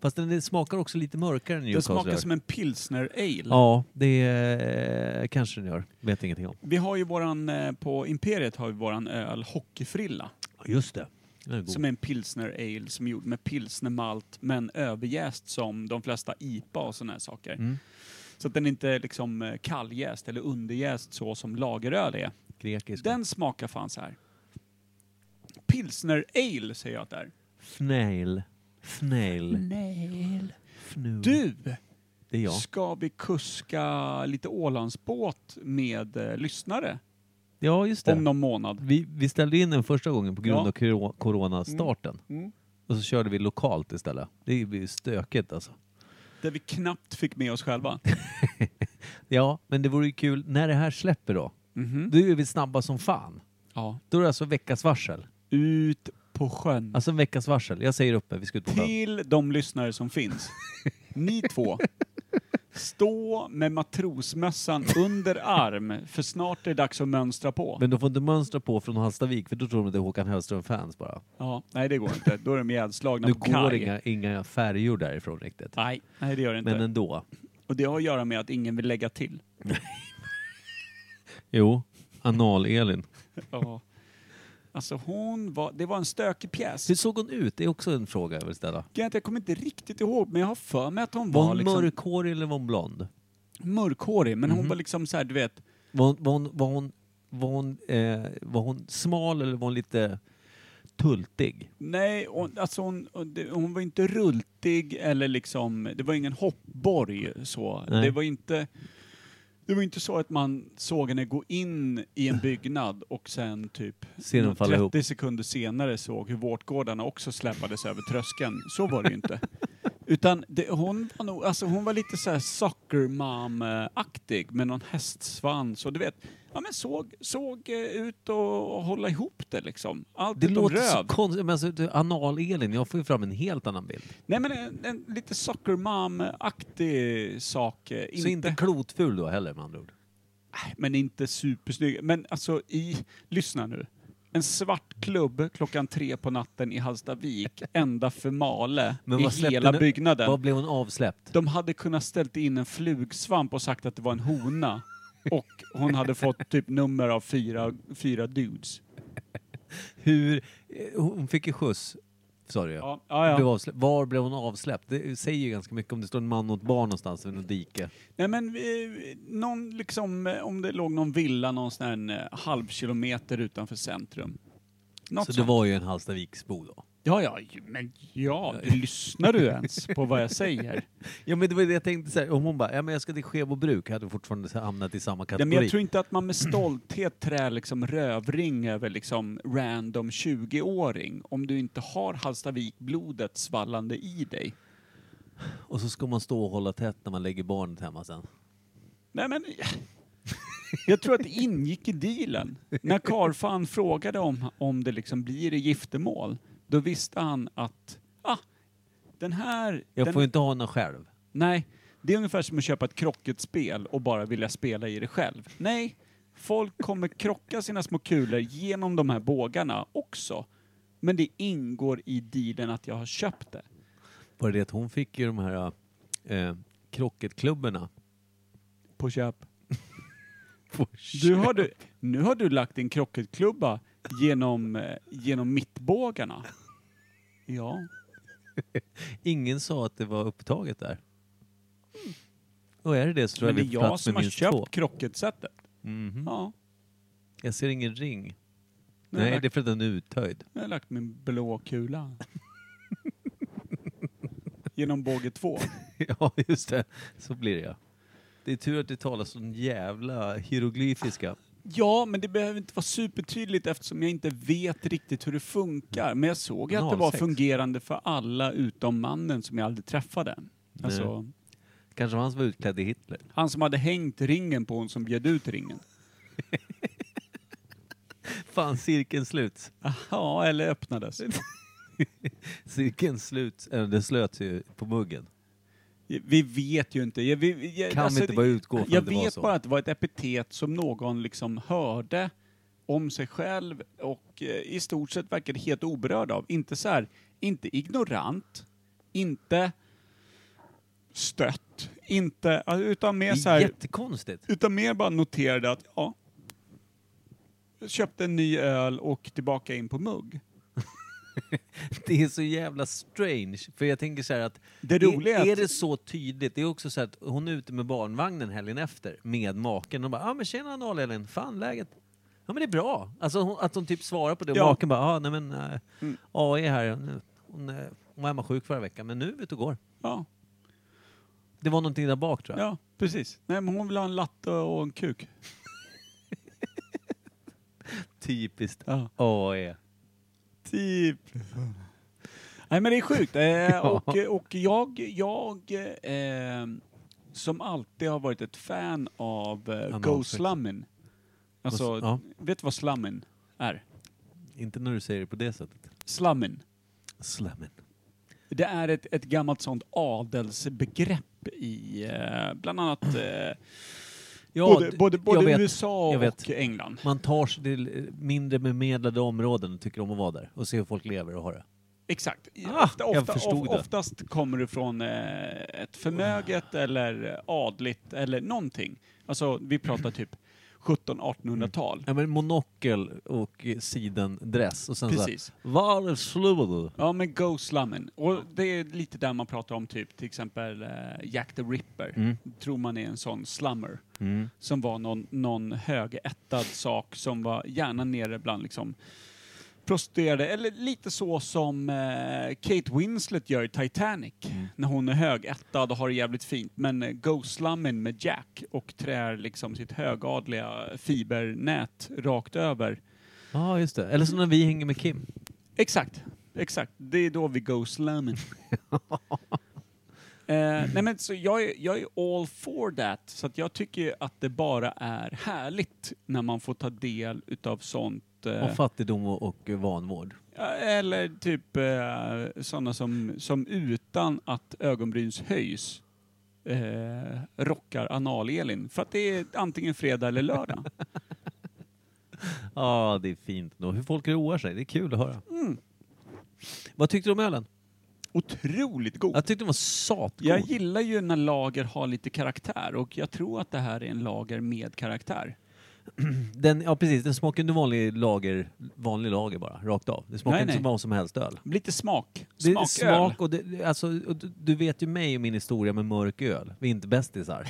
B: Fast den smakar också lite mörkare än
A: Det
B: Newcastle.
A: smakar som en pilsner ale.
B: Ja, det är, kanske den gör. Vet ingenting om.
A: Vi har ju våran, eh, på Imperiet har vi våran öl Hockeyfrilla.
B: Just det. Den är god.
A: Som är en pilsner ale som är gjord med pilsnermalt men överjäst som de flesta IPA och sådana här saker.
B: Mm.
A: Så att den inte är liksom eh, kalljäst eller underjäst så som lageröl är.
B: Grekisk.
A: Den smakar fan så här. Pilsner ale säger jag att det är.
B: Fnail. Fnail. Fnul.
A: Mm. Du!
B: Det är jag.
A: Ska vi kuska lite Ålandsbåt med eh, lyssnare
B: Ja, just det.
A: om någon månad?
B: Vi, vi ställde in den första gången på grund
A: Ja.
B: av koro- coronastarten.
A: Mm.
B: Och så körde vi lokalt istället. Det blir ju stökigt alltså.
A: Där vi knappt fick med
B: <laughs>
A: oss själva.
B: Ja, men det vore ju kul när det här släpper då.
A: Mhm.
B: Då är vi snabba som fan.
A: Ja.
B: Då är det alltså veckas varsel.
A: Ut på sjön.
B: Alltså en veckas varsel. Jag säger uppe, vi ska ut på sjön.
A: Till de lyssnare som finns. Ni två.
B: <laughs>
A: Stå med matrosmössan under arm, för snart är det dags att mönstra på.
B: Men de får inte mönstra på från Hallstavik för då tror de att det är Håkan Hellström-fans bara.
A: Ja, nej, det går inte. Då är de ihjälslagna
B: Nu
A: på kaj.
B: går inga, inga färjor därifrån riktigt.
A: Nej, nej, det gör det inte.
B: Men ändå.
A: Och det har att göra med att ingen vill lägga till.
B: Jo, Anal-Elin.
A: Ja. Alltså hon var, det var en stökig pjäs.
B: Hur såg hon ut? Det är också en fråga jag vill ställa.
A: Grejen är att Jag kommer inte riktigt ihåg, men jag har för mig att hon
B: Var
A: var,
B: hon
A: liksom
B: mörkhårig eller var hon blond?
A: mörkhårig, men hon var liksom så här, du vet,
B: Var hon, var hon, var hon, var hon, eh, var hon smal eller var hon lite tultig?
A: nej, hon, alltså hon, det- hon var inte rultig eller liksom, det var ingen hoppborg så.
B: Nej.
A: Det var inte, det var inte så att man såg henne gå in i en byggnad och sen typ
B: Ser hon falla
A: 30
B: ihop?
A: sekunder senare såg hur vårtgårdarna också släpades över tröskeln. Så var det ju inte. Utan det, hon var nog, alltså hon var lite såhär soccer mom-aktig med någon hästsvans och du vet, ja men såg, såg eh, ut och hålla ihop det liksom. Allt
B: Det
A: utom
B: låter så
A: röv.
B: konstigt. Men alltså, du, Anal-Elin, jag får ju fram en helt annan bild.
A: Nej men en, en lite soccer mom-aktig sak. eh,
B: Så inte klotful då heller med andra ord.
A: men inte supersnygg. Men alltså i, lyssna nu. En svart klubb klockan tre på natten
B: <laughs>
A: i Hallstavik, ända för Male,
B: Men
A: i
B: vad släppte
A: hela
B: ni-
A: byggnaden.
B: Vad blev hon avsläppt?
A: De hade kunnat ställt in en flugsvamp och sagt att det var
B: <laughs>
A: en hona. Och hon hade fått typ nummer av fyra, fyra dudes.
B: Hur, eh, hon fick ju skjuts, sa du ja.
A: Ja, ja,
B: Blev
A: ja.
B: avslä- Var blev hon avsläppt? Det säger ju ganska mycket om det står en man och ett barn någonstans vid något dike.
A: Nej men, eh, någon liksom, eh, om det låg någon villa någon sån här en eh, halv kilometer utanför centrum. Något
B: Så det
A: sånt.
B: var ju en Hallstaviksbo då.
A: Ja, ja, ju- men ja, lyssnar du ens på vad jag säger?
B: Ja men det var det jag tänkte såhär, om hon bara, ja men jag ska till Skebo bruk, hade hon fortfarande hamnat i samma
A: Nej,
B: kategori.
A: men jag tror inte att man med stolthet trär liksom rövring över liksom random 20-åring om du inte har Hallstavik-blodet svallande i dig.
B: Och så ska man stå och hålla tätt när man lägger barnet hemma sen.
A: Nej men... <laughs> Jag tror att det ingick i dealen. När Karfan frågade om, om det liksom blir i giftermål, då visste han att ah, den här...
B: Jag
A: den,
B: får ju inte ha någon själv.
A: Nej, det är ungefär som att köpa ett krocketspel och bara vilja spela i det själv. Nej, folk kommer krocka sina små kulor genom de här bågarna också. Men det ingår i dealen att jag har köpt det.
B: Bara det att hon fick ju de här eh, krocketklubborna.
A: På köp.
B: <laughs> På
A: Du har du, nu har du lagt din krocketklubba genom, eh, genom mittbågarna. Ja.
B: Ingen sa att det var upptaget där. Och är det det så tror
A: Men det
B: jag
A: är
B: vi får
A: jag
B: plats
A: som
B: med
A: har
B: minst
A: köpt
B: två.
A: krocketsättet.
B: Mhm.
A: Ja.
B: Jag ser ingen ring.
A: Nu har jag
B: Nej,
A: lagt-
B: det är för att den är uthöjd.
A: Jag har lagt min blå kula. genom båge två.
B: ja, just det. Så blir det ja. Det är tur att det talas sån jävla hieroglyfiska.
A: Ja, men det behöver inte vara supertydligt eftersom jag inte vet riktigt hur det funkar. Men jag såg ju att det var
B: 06.
A: fungerande för alla utom mannen som jag aldrig träffade. Alltså,
B: Kanske var han som var utklädd i Hitler.
A: han som hade hängt ringen på hon som bjöd ut ringen.
B: Fan, cirkeln sluts.
A: Ja, eller öppnades.
B: Cirkeln sluts. Eller den slöts ju på muggen.
A: Vi vet ju inte. Jag, vi, jag,
B: Kan vi inte bara utgå från
A: Jag
B: att det var
A: vet
B: så?
A: bara att det var ett epitet som någon liksom hörde om sig själv och eh, i stort sett verkade helt oberörd av. Inte så här, inte ignorant, inte stött, inte, eh, utan
B: Det
A: mer så
B: är
A: här,
B: jättekonstigt.
A: utan mer bara noterade att ja, jag köpte en ny öl och tillbaka in på mugg.
B: <laughs> Det är så jävla strange. För jag tänker så här att...
A: Det roliga är
B: är,
A: att-
B: är det så tydligt? Det är också så här att hon är ute med barnvagnen helgen efter med maken. och bara ah, men “Tjena Anna-Elin, fan läget?” Ja men det är bra. Alltså hon, att hon typ svarar på det och
A: Ja. Mm.
B: maken bara “Ah, nej men äh, AI är här. Hon, hon, eh, hon var hemma sjuk förra veckan men nu är vi ute och går.”
A: Ja,
B: Det var någonting där bak tror jag.
A: ja precis. Nej, men hon vill ha en latte och en kuk.
B: Typiskt E.
A: Ja.
B: AI.
A: Typ. Nej men det är sjukt. <laughs> Eh, och, och jag, jag eh, som alltid har varit ett fan av eh,
B: men
A: Go
B: avsikt.
A: Slummin. Alltså,
B: Vad s-
A: vet du vad Slummin är?
B: Inte när du säger det på det sättet.
A: Slummin.
B: Slammen.
A: Det är ett, ett gammalt sånt adelsbegrepp i eh, bland annat eh,
B: Ja,
A: både,
B: d-
A: både,
B: jag
A: både
B: vet.
A: USA
B: jag
A: och
B: vet.
A: England.
B: Man tar sig till eh, mindre bemedlade områden och tycker om att vara där och se hur folk lever och har det.
A: Exakt.
B: Ah,
A: ofta,
B: jag
A: ofta,
B: förstod
A: of,
B: det.
A: oftast kommer du från eh, ett förmöget eller eh, adligt eller någonting. Alltså, vi pratar typ 1700-1800-tal.
B: Ja, men monokel och eh, sidendress och sen
A: Precis.
B: så här, Var slår du?
A: Ja, men Go Slummen. Och det är lite där man pratar om typ till exempel eh, Jack the Ripper.
B: Mm.
A: Tror man är en sån slummer. Som var någon, någon högättad sak som var gärna nere bland liksom prostituerade. Eller lite så som eh, Kate Winslet gör i Titanic. När hon är högättad och har det jävligt fint. Men eh, Go Slummen med Jack och trär liksom sitt högadliga fibernät rakt över.
B: Ja, just det. Eller som när vi hänger med Kim.
A: Exakt, exakt. Det är då vi go slamming. eh, nej men så jag är, jag är all for that, så att jag tycker ju att det bara är härligt när man får ta del utav sånt.
B: Och
A: Eh,
B: fattigdom och, och vanvård.
A: eller typ eh, sådana som, som utan att ögonbryns höjs eh, rockar anal-Elin. För att det är antingen fredag eller lördag.
B: Ja, det är fint då. Hur folk roar sig. Det är kul att höra. Mm. Vad tyckte du om ölen?
A: Otroligt god.
B: Jag tyckte den var satgod.
A: Jag gillar ju när lager har lite karaktär och jag tror att det här är en lager med karaktär.
B: Den, ja precis, den smakar inte vanlig lager, vanlig lager bara, rakt av. Det smakar
A: Nej,
B: inte
A: nej.
B: som vad som helst öl.
A: Lite smak.
B: Det är
A: Smaköl.
B: smak och det, alltså, och du- du vet ju mig och min historia med mörk öl. Vi är inte bästisar.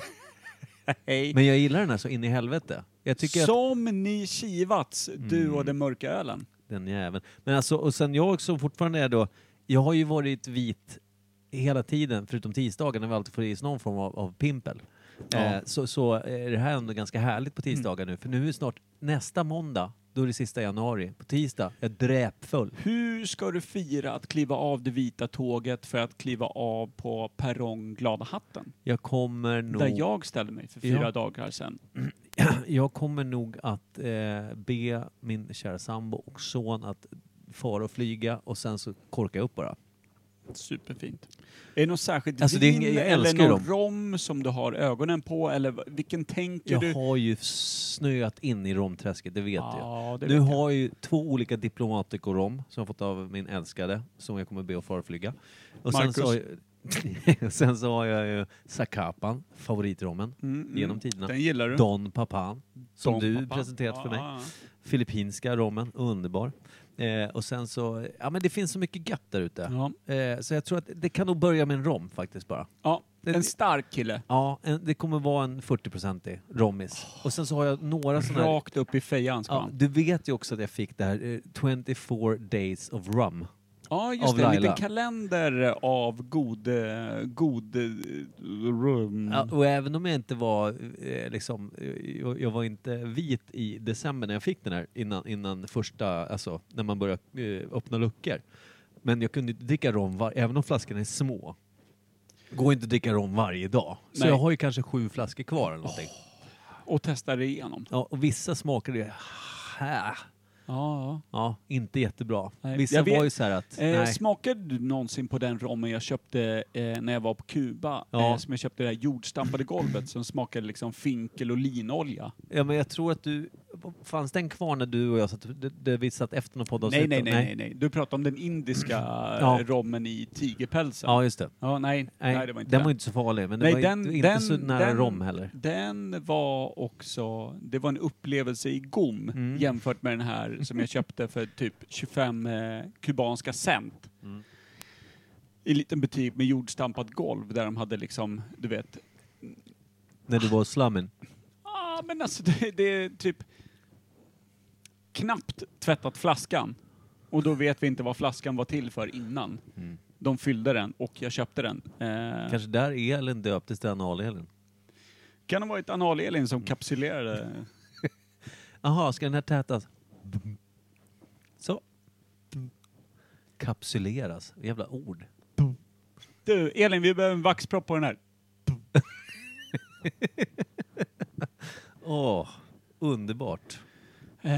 A: Hej.
B: Men jag gillar den här så in i helvete. Jag tycker att Mm.
A: Som ni kivats, du och den mörka ölen.
B: den jäveln. Men alltså, och sen jag också fortfarande är då, jag har ju varit vit hela tiden, förutom tisdagar när vi alltid får i oss någon form av, av pimpel. Eh, så, så är det här ändå ganska härligt
A: Mm.
B: på tisdagar nu, för nu är snart nästa måndag, då är det sista januari. På tisdag, jag är dräpfull.
A: Hur ska du fira att kliva av det vita tåget för att kliva av på perrong Glada hatten?
B: Jag kommer nog...
A: Där jag ställde mig för fyra
B: Ja.
A: dagar sedan.
B: <clears throat> Jag kommer nog att eh, be min kära sambo och son att fara och flyga och sen så korka upp bara.
A: Superfint. Är det något särskilt
B: Alltså, det är
A: vin
B: inget- jag
A: eller
B: älskar ju
A: någon rom som du har ögonen på? Eller v- vilken tänker
B: Jag
A: du? Ah.
B: har ju snöat in i romträsket, det vet jag.
A: Ja, det
B: Nu
A: vet
B: har jag ju två olika diplomatico rom som jag fått av min älskade som jag kommer be att fara och flyga. Och sen så, har jag, <laughs> sen så har jag ju Zacapan, favoritrommen
A: Mm, mm.
B: genom tiderna.
A: Den gillar du?
B: Don Papan, som
A: Dom
B: du
A: Papa.
B: presenterat för mig.
A: Ja, ja.
B: Filippinska rommen, underbar. Eh, och sen så, ja men det finns så mycket gött där ute.
A: Ja.
B: Eh, så jag tror att det kan nog börja med en rom faktiskt bara.
A: Ja,
B: Det-
A: en stark kille.
B: Ja, en, det kommer vara en 40-procentig rommis. Och sen så har jag några sådana här...
A: Rakt upp i fejan ska
B: Mm. Ja,
A: han.
B: du vet ju också att jag fick det här eh, 24 days of rum.
A: Ja, just
B: Av
A: det. En
B: Laila.
A: liten kalender av god... eh, god eh, rum.
B: Ja, och även om jag inte var eh, liksom, eh, jag, jag var inte vit i december när jag fick den här innan, innan första, alltså när man börjar eh, öppna luckor. Men jag kunde inte dricka rom, var, även om flaskorna är små. Går inte att dricka rom varje dag. Så
A: Nej.
B: jag har ju kanske sju flaskor kvar eller någonting.
A: Och testar det igenom.
B: Ja, och vissa smakade ju, här.
A: Ja,
B: Ja, inte jättebra.
A: Nej,
B: Vissa
A: jag vet-
B: var ju så här att,
A: ja. Eh,
B: nej.
A: smakade du någonsin på den rommen jag köpte eh, när jag var på Kuba?
B: Ja.
A: Eh, som jag köpte det här jordstampade golvet som smakade liksom finkel och linolja.
B: Ja, men jag tror att du, fanns den kvar när du och jag satt, det, det vi satt efter någon podd
A: Nej, nej, nej, nej, nej. Du pratar om den indiska eh, rommen i tigerpälsen. Ja,
B: Ja, just det.
A: nej, nej.
B: Nej,
A: det var inte
B: den
A: det.
B: var inte så farlig, men
A: Nej,
B: den var
A: den-
B: ju inte
A: den-
B: så nära
A: den-
B: rom heller.
A: Den var också, det var en upplevelse i gom
B: Mm.
A: jämfört med den här som jag köpte för typ 25 eh, kubanska cent.
B: Mm.
A: I en liten butik med jordstampat golv där de hade liksom, du vet,
B: När du var i slammen.
A: ah, men alltså det, det är typ knappt tvättat flaskan. Och då vet vi inte vad flaskan var till för innan.
B: Mm.
A: De fyllde den och jag köpte den. Eh,
B: Kanske där elen döptes till analelen.
A: kan det ha varit anal-Elin
B: Mm.
A: som kapsylerade?
B: Jaha, ska den här tätas? Så. Kapsyleras. Jävla ord.
A: Du, Elin, vi behöver en vaxpropp på den här.
B: Åh, underbart.
A: Eh,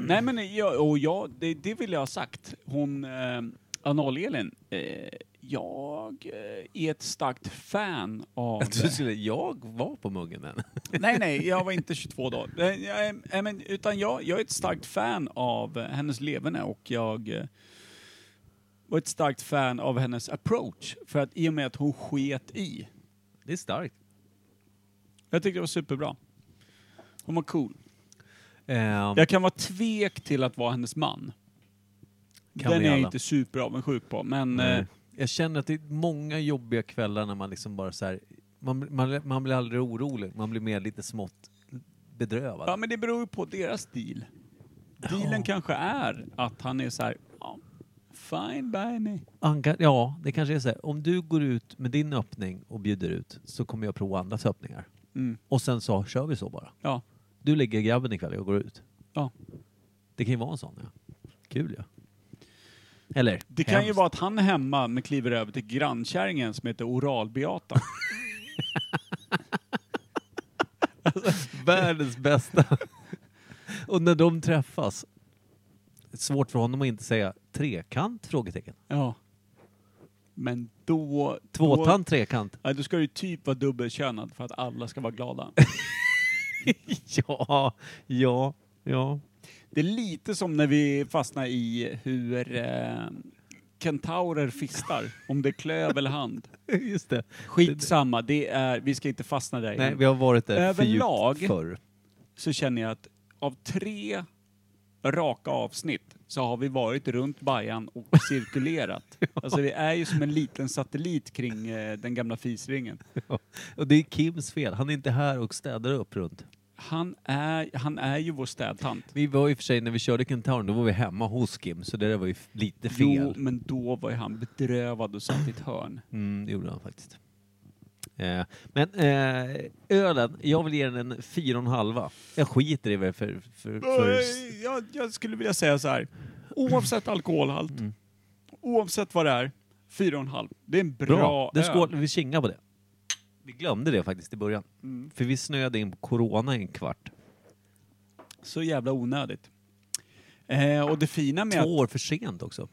A: nej men jag, och jag, det, det vill jag ha sagt. Hon, eh, Anal-Elin, eh, jag eh, är ett starkt fan av...
B: Jag trodde skulle- jag var på muggen än.
A: nej nej, jag var inte 22 då. Eh, jag är- nej, men, utan jag, jag är ett starkt fan av eh, hennes leverne och jag eh, var ett starkt fan av hennes approach. För att i och med att hon sket i.
B: <laughs> Det är starkt.
A: Jag tyckte det var superbra. Hon var cool.
B: Ehm,
A: Jag kan vara tvek till att vara hennes man.
B: Kan
A: Den
B: vi
A: är jag
B: alla.
A: inte superavundsjuk på, men...
B: Nej.
A: eh,
B: Jag känner att det är många jobbiga kvällar när man liksom bara så här, man, man, man blir aldrig orolig, man blir mer lite smått bedrövad.
A: Ja, men det beror ju på deras deal. Dealen kanske är att han är så här, ja, fine by me.
B: Anka, ja, det kanske är så här. Om du går ut med din öppning och bjuder ut så kommer jag prova andras öppningar.
A: Mm.
B: Och sen så kör vi så bara.
A: Ja,
B: Du lägger grabben ikväll och jag går ut.
A: ja.
B: Det kan ju vara en sån ja. Kul ja. Eller?
A: Det kan ju vara att han är hemma men kliver över till grannkärringen som heter
B: <laughs>
A: Oralbeata.
B: <laughs> världens bästa. och när de träffas. Svårt för honom att inte säga trekant? Frågetecken.
A: ja. Men då...
B: Tvåtand trekant.
A: Då, ja, då ska du ju typ vara dubbelkönad för att alla ska vara glada.
B: <laughs> Ja, ja, ja. <laughs>
A: Det är lite som när vi fastnar i hur eh, kentaurer fistar. Om det är klöv eller hand.
B: Just det.
A: Skitsamma, det är, vi ska inte fastna där.
B: Nej, vi har varit där för
A: Överlag-
B: djupt förr.
A: så känner jag att av tre raka avsnitt så har vi varit runt Bajan och
B: <laughs>
A: cirkulerat. Alltså vi är ju som en liten satellit kring eh, den gamla fisringen.
B: Och det är Kims fel. Han är inte här och städar upp runt.
A: Han är, han är ju vår städtant.
B: Vi var i och för sig, när vi körde Kentauren, då var vi hemma hos Kim, så det där var ju f- lite
A: Jo,
B: fel.
A: men då var ju han bedrövad och satt i ett hörn.
B: Mm, det gjorde han faktiskt. Eh, men eh, ölen, jag vill ge den en fyra och en halva. Jag skiter i vad det är för... för, Typ för
A: Jag, jag skulle vilja säga så här. Oavsett alkoholhalt,
B: Mm.
A: oavsett vad det är, 4,5. Det är en bra,
B: bra. Den
A: öl.
B: skål, vi kingar på det. Vi glömde det faktiskt i början. För vi snöade in på corona i en kvart.
A: Så jävla onödigt. Eh, och det fina med
B: Två år för sent också.
A: att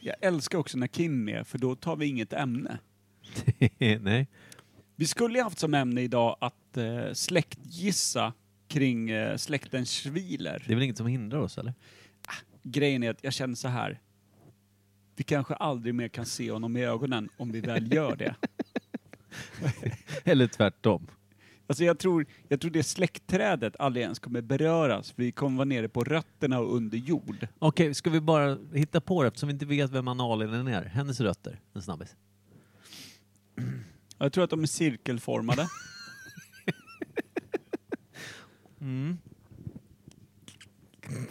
A: jag älskar också när Kim är för då tar vi inget ämne.
B: <laughs> Nej.
A: Vi skulle ju haft som ämne idag att eh, släktgissa kring eh, släkten Schwiler.
B: Det är väl inget som hindrar oss, eller?
A: Grejen är att jag känner så här. Vi kanske aldrig mer kan se honom i ögonen om vi väl gör det.
B: Eller tvärtom.
A: Alltså jag tror, jag tror det släktträdet aldrig ens kommer beröras. Vi kommer vara nere på rötterna och under jord.
B: Okej, ska vi bara hitta på det eftersom vi inte vet vem Annalinen är? Hennes rötter, en snabbis.
A: Jag tror att de är cirkelformade.
B: Mm.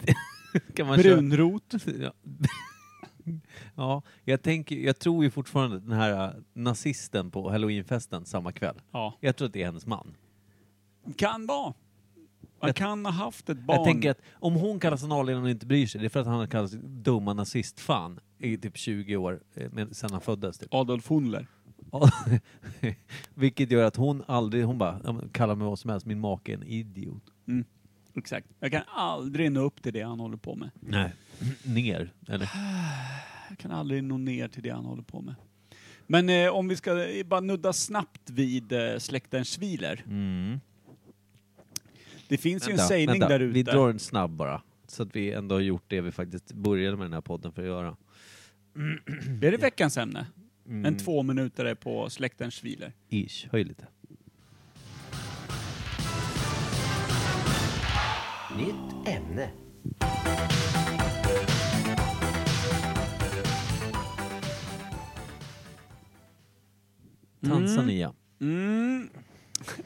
B: <laughs> Kan <laughs> man köra-
A: Brunrot.
B: Ja. <laughs> ja, jag, tänker, jag tror ju fortfarande den här äh, nazisten på halloweenfesten samma kväll.
A: Ja.
B: Jag tror att det är hennes man.
A: Kan vara. Man
B: Jag-
A: kan ha haft ett barn.
B: Jag tänker att om hon kallas Annalena och inte bryr sig, det är för att han har kallats dumma nazistfan i typ 20 år eh, men sen han föddes. Typ.
A: Adolf Hundler.
B: Ja. <laughs> Vilket gör att hon aldrig, hon bara, "Ja, men kalla mig vad som helst, min make är en idiot.
A: Exakt. Jag kan aldrig nå upp till det han håller på med.
B: Nej. <clears throat> Ner, eller?
A: Jag kan aldrig nå ner till det han håller på med. Men eh, om vi ska eh, bara nudda snabbt vid eh, släkten Schwiler.
B: Mm.
A: Det finns ju
B: Vänta,
A: en sägning
B: vänta.
A: där ute.
B: Vi drar en snabb bara. Så att vi ändå har gjort det vi faktiskt började med den här podden för att göra.
A: Är det veckans ämne?
B: Mm.
A: En två minuter på släkten Schwiler.
B: Ish, höj lite.
G: Nytt ämne.
B: Tanzania.
A: Mm.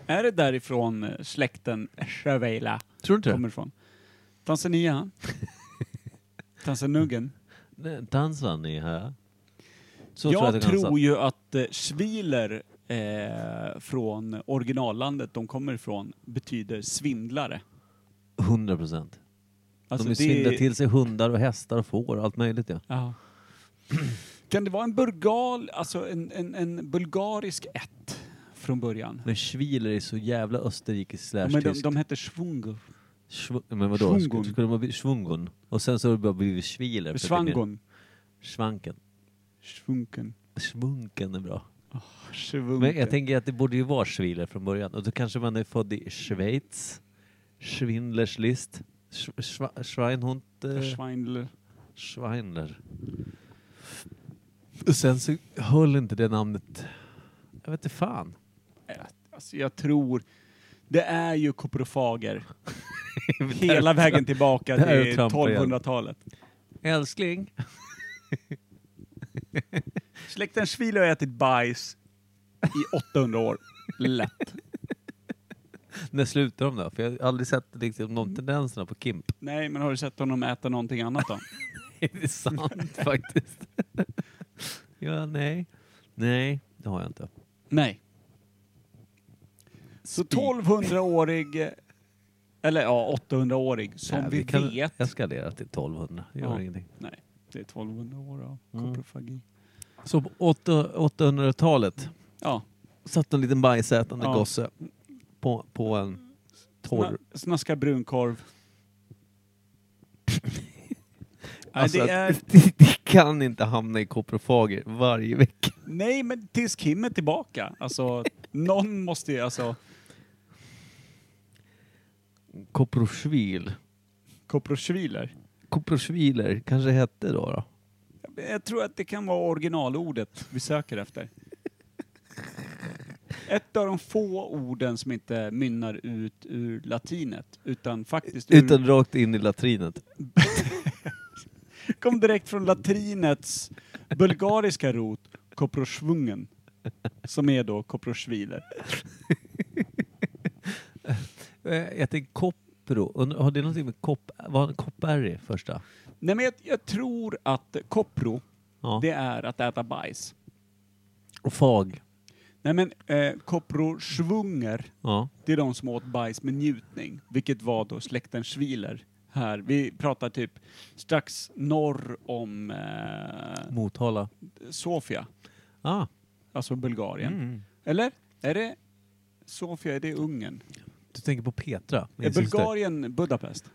A: Är det därifrån eh, släkten Shavela
B: Tror du inte
A: kommer ifrån?
B: <laughs>
A: Tanzania? Tanzanuggen?
B: det? Tanzania. här. Så
A: jag
B: att det kan
A: tror
B: vara.
A: ju att eh, Schwiler eh, från originallandet de kommer ifrån betyder svindlare.
B: 100 procent.
A: Alltså,
B: De svindlar till sig hundar och hästar och får och allt möjligt. Ja.
A: Ja. Kan det vara en burgal, alltså en, en, en bulgarisk ett från början?
B: Men schwiler är så jävla österrikisk slash
A: Ja, men de,
B: tysk.
A: de hette Schwunger.
B: Schw- men vadå?
A: Schwungon.
B: Skulle skulle de ha blivit schwungon? Och sen så har det bara blivit schwiler. för att det är mer-
A: Schwangon.
B: Schvanken.
A: Schwunken.
B: Schvunken är bra. Men jag
A: Schwunken.
B: tänker att det borde ju vara Schwiler från början. Och då kanske man är född i Schweiz, Schwindlers list, Sch- Schwa- Schweinhund, eh,
A: Schweindler.
B: Schweindler. Och sen så höll inte det namnet. Jag vet inte fan.
A: Alltså jag tror... Det är
B: <laughs>
A: ju koprofager. Hela vägen tillbaka
B: Där är
A: till
B: Trump igen.
A: 1200-talet.
B: Älskling.
A: Släkten Schwiler har ätit bajs
B: <laughs>
A: i 800 år. Lätt.
B: När slutar de då? För jag har aldrig sett liksom, de tendenserna på Kimp.
A: Nej, men har du sett honom äta någonting annat då?
B: <laughs> Är det sant faktiskt? <laughs> ja, nej. Nej, det har jag inte.
A: Nej. Så 1200-årig, eh, eller ja, 800-årig, som
B: nej,
A: vi,
B: kan-
A: vet.
B: Jag ska addera till 1200. Det gör
A: Ja.
B: ingenting.
A: Nej, det är 1200 år av
B: Mm.
A: koprofagi.
B: Så på åtta- 800-talet
A: Ja,
B: satt en liten bajsätande
A: Ja.
B: gosse på, på en
A: sna,
B: <laughs> torr... <laughs>
A: snaska brunkorv. Nej,
B: Alltså,
A: det
B: att-
A: är,
B: det, det kan inte hamna i koprofager varje vecka.
A: nej, men tills Kim är tillbaka. Alltså, någon måste ju, alltså,
B: Koprosvil.
A: koprosviler.
B: Koprosviler kanske hette då. då.
A: Jag tror att det kan vara originalordet vi söker efter. ett av de få orden som inte mynnar ut ur latinet, utan faktiskt ur,
B: Utan rakt in i latrinet.
A: kom direkt från latinets bulgariska rot, koprosvungen, som är då koprosviler.
B: Eh, Jag tänker koppro. Und- Har det någonting med kopp... Vad en kopp är i första?
A: Nej men jag, jag tror att kopro,
B: Ja.
A: det är att äta bajs.
B: Och fag.
A: Nej men eh, koprosvunger,
B: Ja.
A: det är de som åt bajs med njutning, vilket var då släkten Schwiler här. Vi pratar typ strax norr om eh,
B: Motala.
A: Sofia,
B: Ah.
A: alltså Bulgarien.
B: Mm.
A: Eller? Är det Sofia, är det Ungern?
B: Du tänker på Petra, min
A: Är
B: syster.
A: Bulgarien Budapest?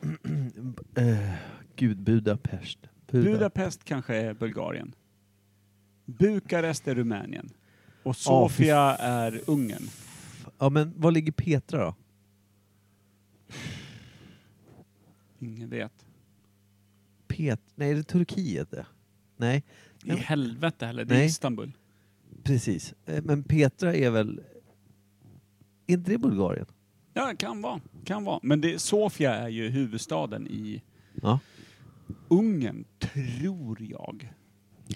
B: <clears throat> Eh, Gud, Budapest.
A: Budapest kanske är Bulgarien. Bukarest är Rumänien. Och Sofia är Ungern.
B: Ja, men var ligger Petra då?
A: Ingen vet.
B: Pet... Nej, är det Turkiet det? Nej,
A: I helvete heller, det är
B: Nej.
A: Istanbul.
B: precis. Eh, Men Petra är väl... Är inte det Bulgarien?
A: Ja, kan vara. Kan vara. Men det, Sofia är ju huvudstaden i
B: Ja.
A: Ungern, tror jag.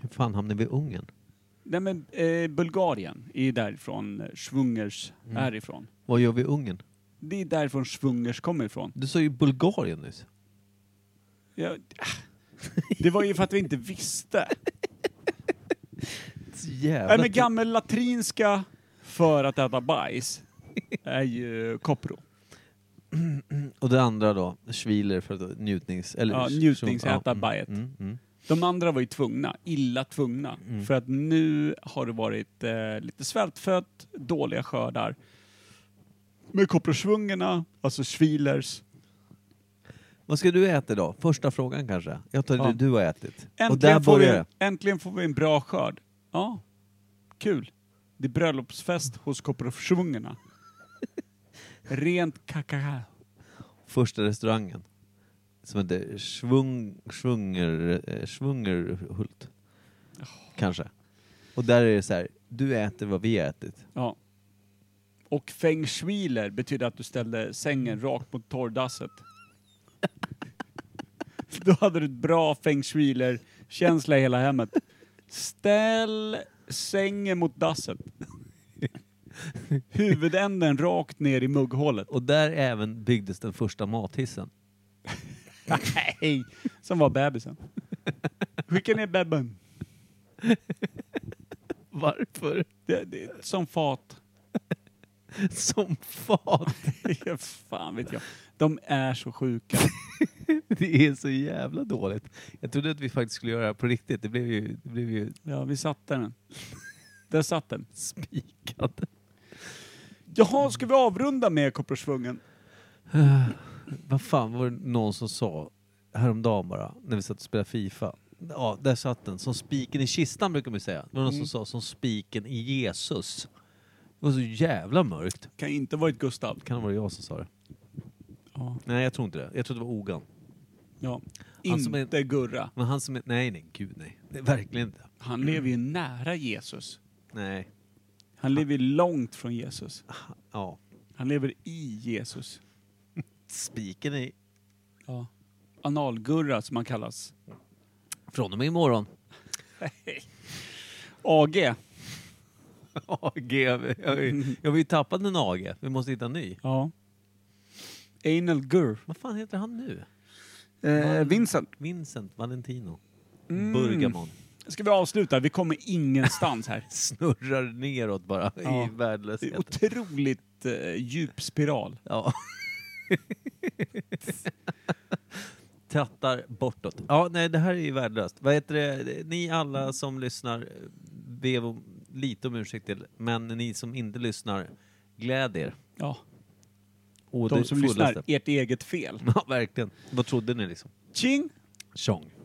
B: Hur fan hamnar vi i Ungern?
A: Nej men eh, Bulgarien är därifrån eh, Schwungers är ifrån.
B: Vad gör vi i Ungern?
A: Det är därifrån Schwungers kommer ifrån.
B: Du sa ju Bulgarien nyss.
A: Ja, äh. det var ju för att vi inte visste.
B: Så
A: Nej,
B: Jävla...
A: men gammel latrinska för att äta bajs är ju kopro.
B: Och det andra då? Schwiler för att njutnings... Eller,
A: Ja, njutningsäta
B: Ja, mm,
A: bajet.
B: Mm, mm.
A: De andra var ju tvungna, illa tvungna. För att nu har det varit eh, lite svältfött, dåliga skördar. Med koprosvungerna, alltså schwilers.
B: Vad ska du äta idag? Första frågan kanske? Jag tar
A: Ja.
B: det du har ätit. och där
A: Äntligen, får
B: börjar
A: vi,
B: det.
A: äntligen får vi en bra skörd. Ja, kul. Det är bröllopsfest
B: <laughs>
A: hos koprosvungerna. Rent kakao.
B: Första restaurangen. Som heter Schwung... Schwunger... eh, Schwungerhult. Kanske. Och där är det så här. Du äter vad vi har ätit.
A: Ja. Och feng shuiler betyder att du ställde sängen rakt mot torrdasset. <laughs> Då hade du ett bra feng shuiler-känsla i hela hemmet. Ställ sängen mot dasset. Huvudänden rakt ner i mugghålet.
B: Och där även byggdes den första mathissen.
A: Nej! Som var bebisen. Skicka ner bebben.
B: Varför?
A: Det, det, som fat. <laughs>
B: Som fat!
A: Ja, Fan vet jag. De är så sjuka.
B: Det är så jävla dåligt. Jag trodde att vi faktiskt skulle göra det här på riktigt. Det blev ju, det blev ju
A: Ja, vi satte den. Där satt den.
B: spikat.
A: Jaha, ska vi avrunda med Kopparsvungen?
B: Vad fan var det någon som sa häromdagen bara, när vi satt och spelade Fifa. Ja, där satt den. Som spiken i kistan brukar man ju säga. Det var någon som sa som spiken i Jesus. Det var så jävla mörkt.
A: Kan ju inte varit Gustav.
B: Kan det vara jag som sa det?
A: Ja.
B: Nej, jag tror inte det. Jag tror det var Ogan.
A: Ja.
B: Han som är-
A: Inte Gurra.
B: Men han som är... Nej, nej, gud nej. Det är verkligen inte.
A: Han lever ju nära Jesus.
B: Nej.
A: Han lever ju långt från Jesus.
B: Ja.
A: Han lever i Jesus.
B: Spiken i...
A: Ja. Analgurra som han kallas.
B: Från och med <laughs> imorgon.
A: AG.
B: AG. Jag har ju- jag har ju tappat en AG. Vi måste hitta en ny.
A: Ja. Anal Gur.
B: Vad fan heter han nu?
A: Eh, Vincent.
B: Vincent Valentino. Mm. Burgamon.
A: Mm. Ska vi avsluta? Vi kommer ingenstans här.
B: Snurrar neråt bara
A: Ja.
B: i värdelöshet.
A: Otroligt eh, djup spiral. <laughs>
B: Ja. Trattar bortåt. Ja, nej, det här är ju värdelöst. Vad heter det? Ni alla som lyssnar, be om, lite om ursäkt till, men ni som inte lyssnar, gläd er.
A: Ja.
B: Å
A: De
B: det
A: som
B: fullaste. <laughs>
A: lyssnar, ert eget fel.
B: Mm. Ja, verkligen. Vad trodde ni liksom?
A: Ching!
B: Tjong.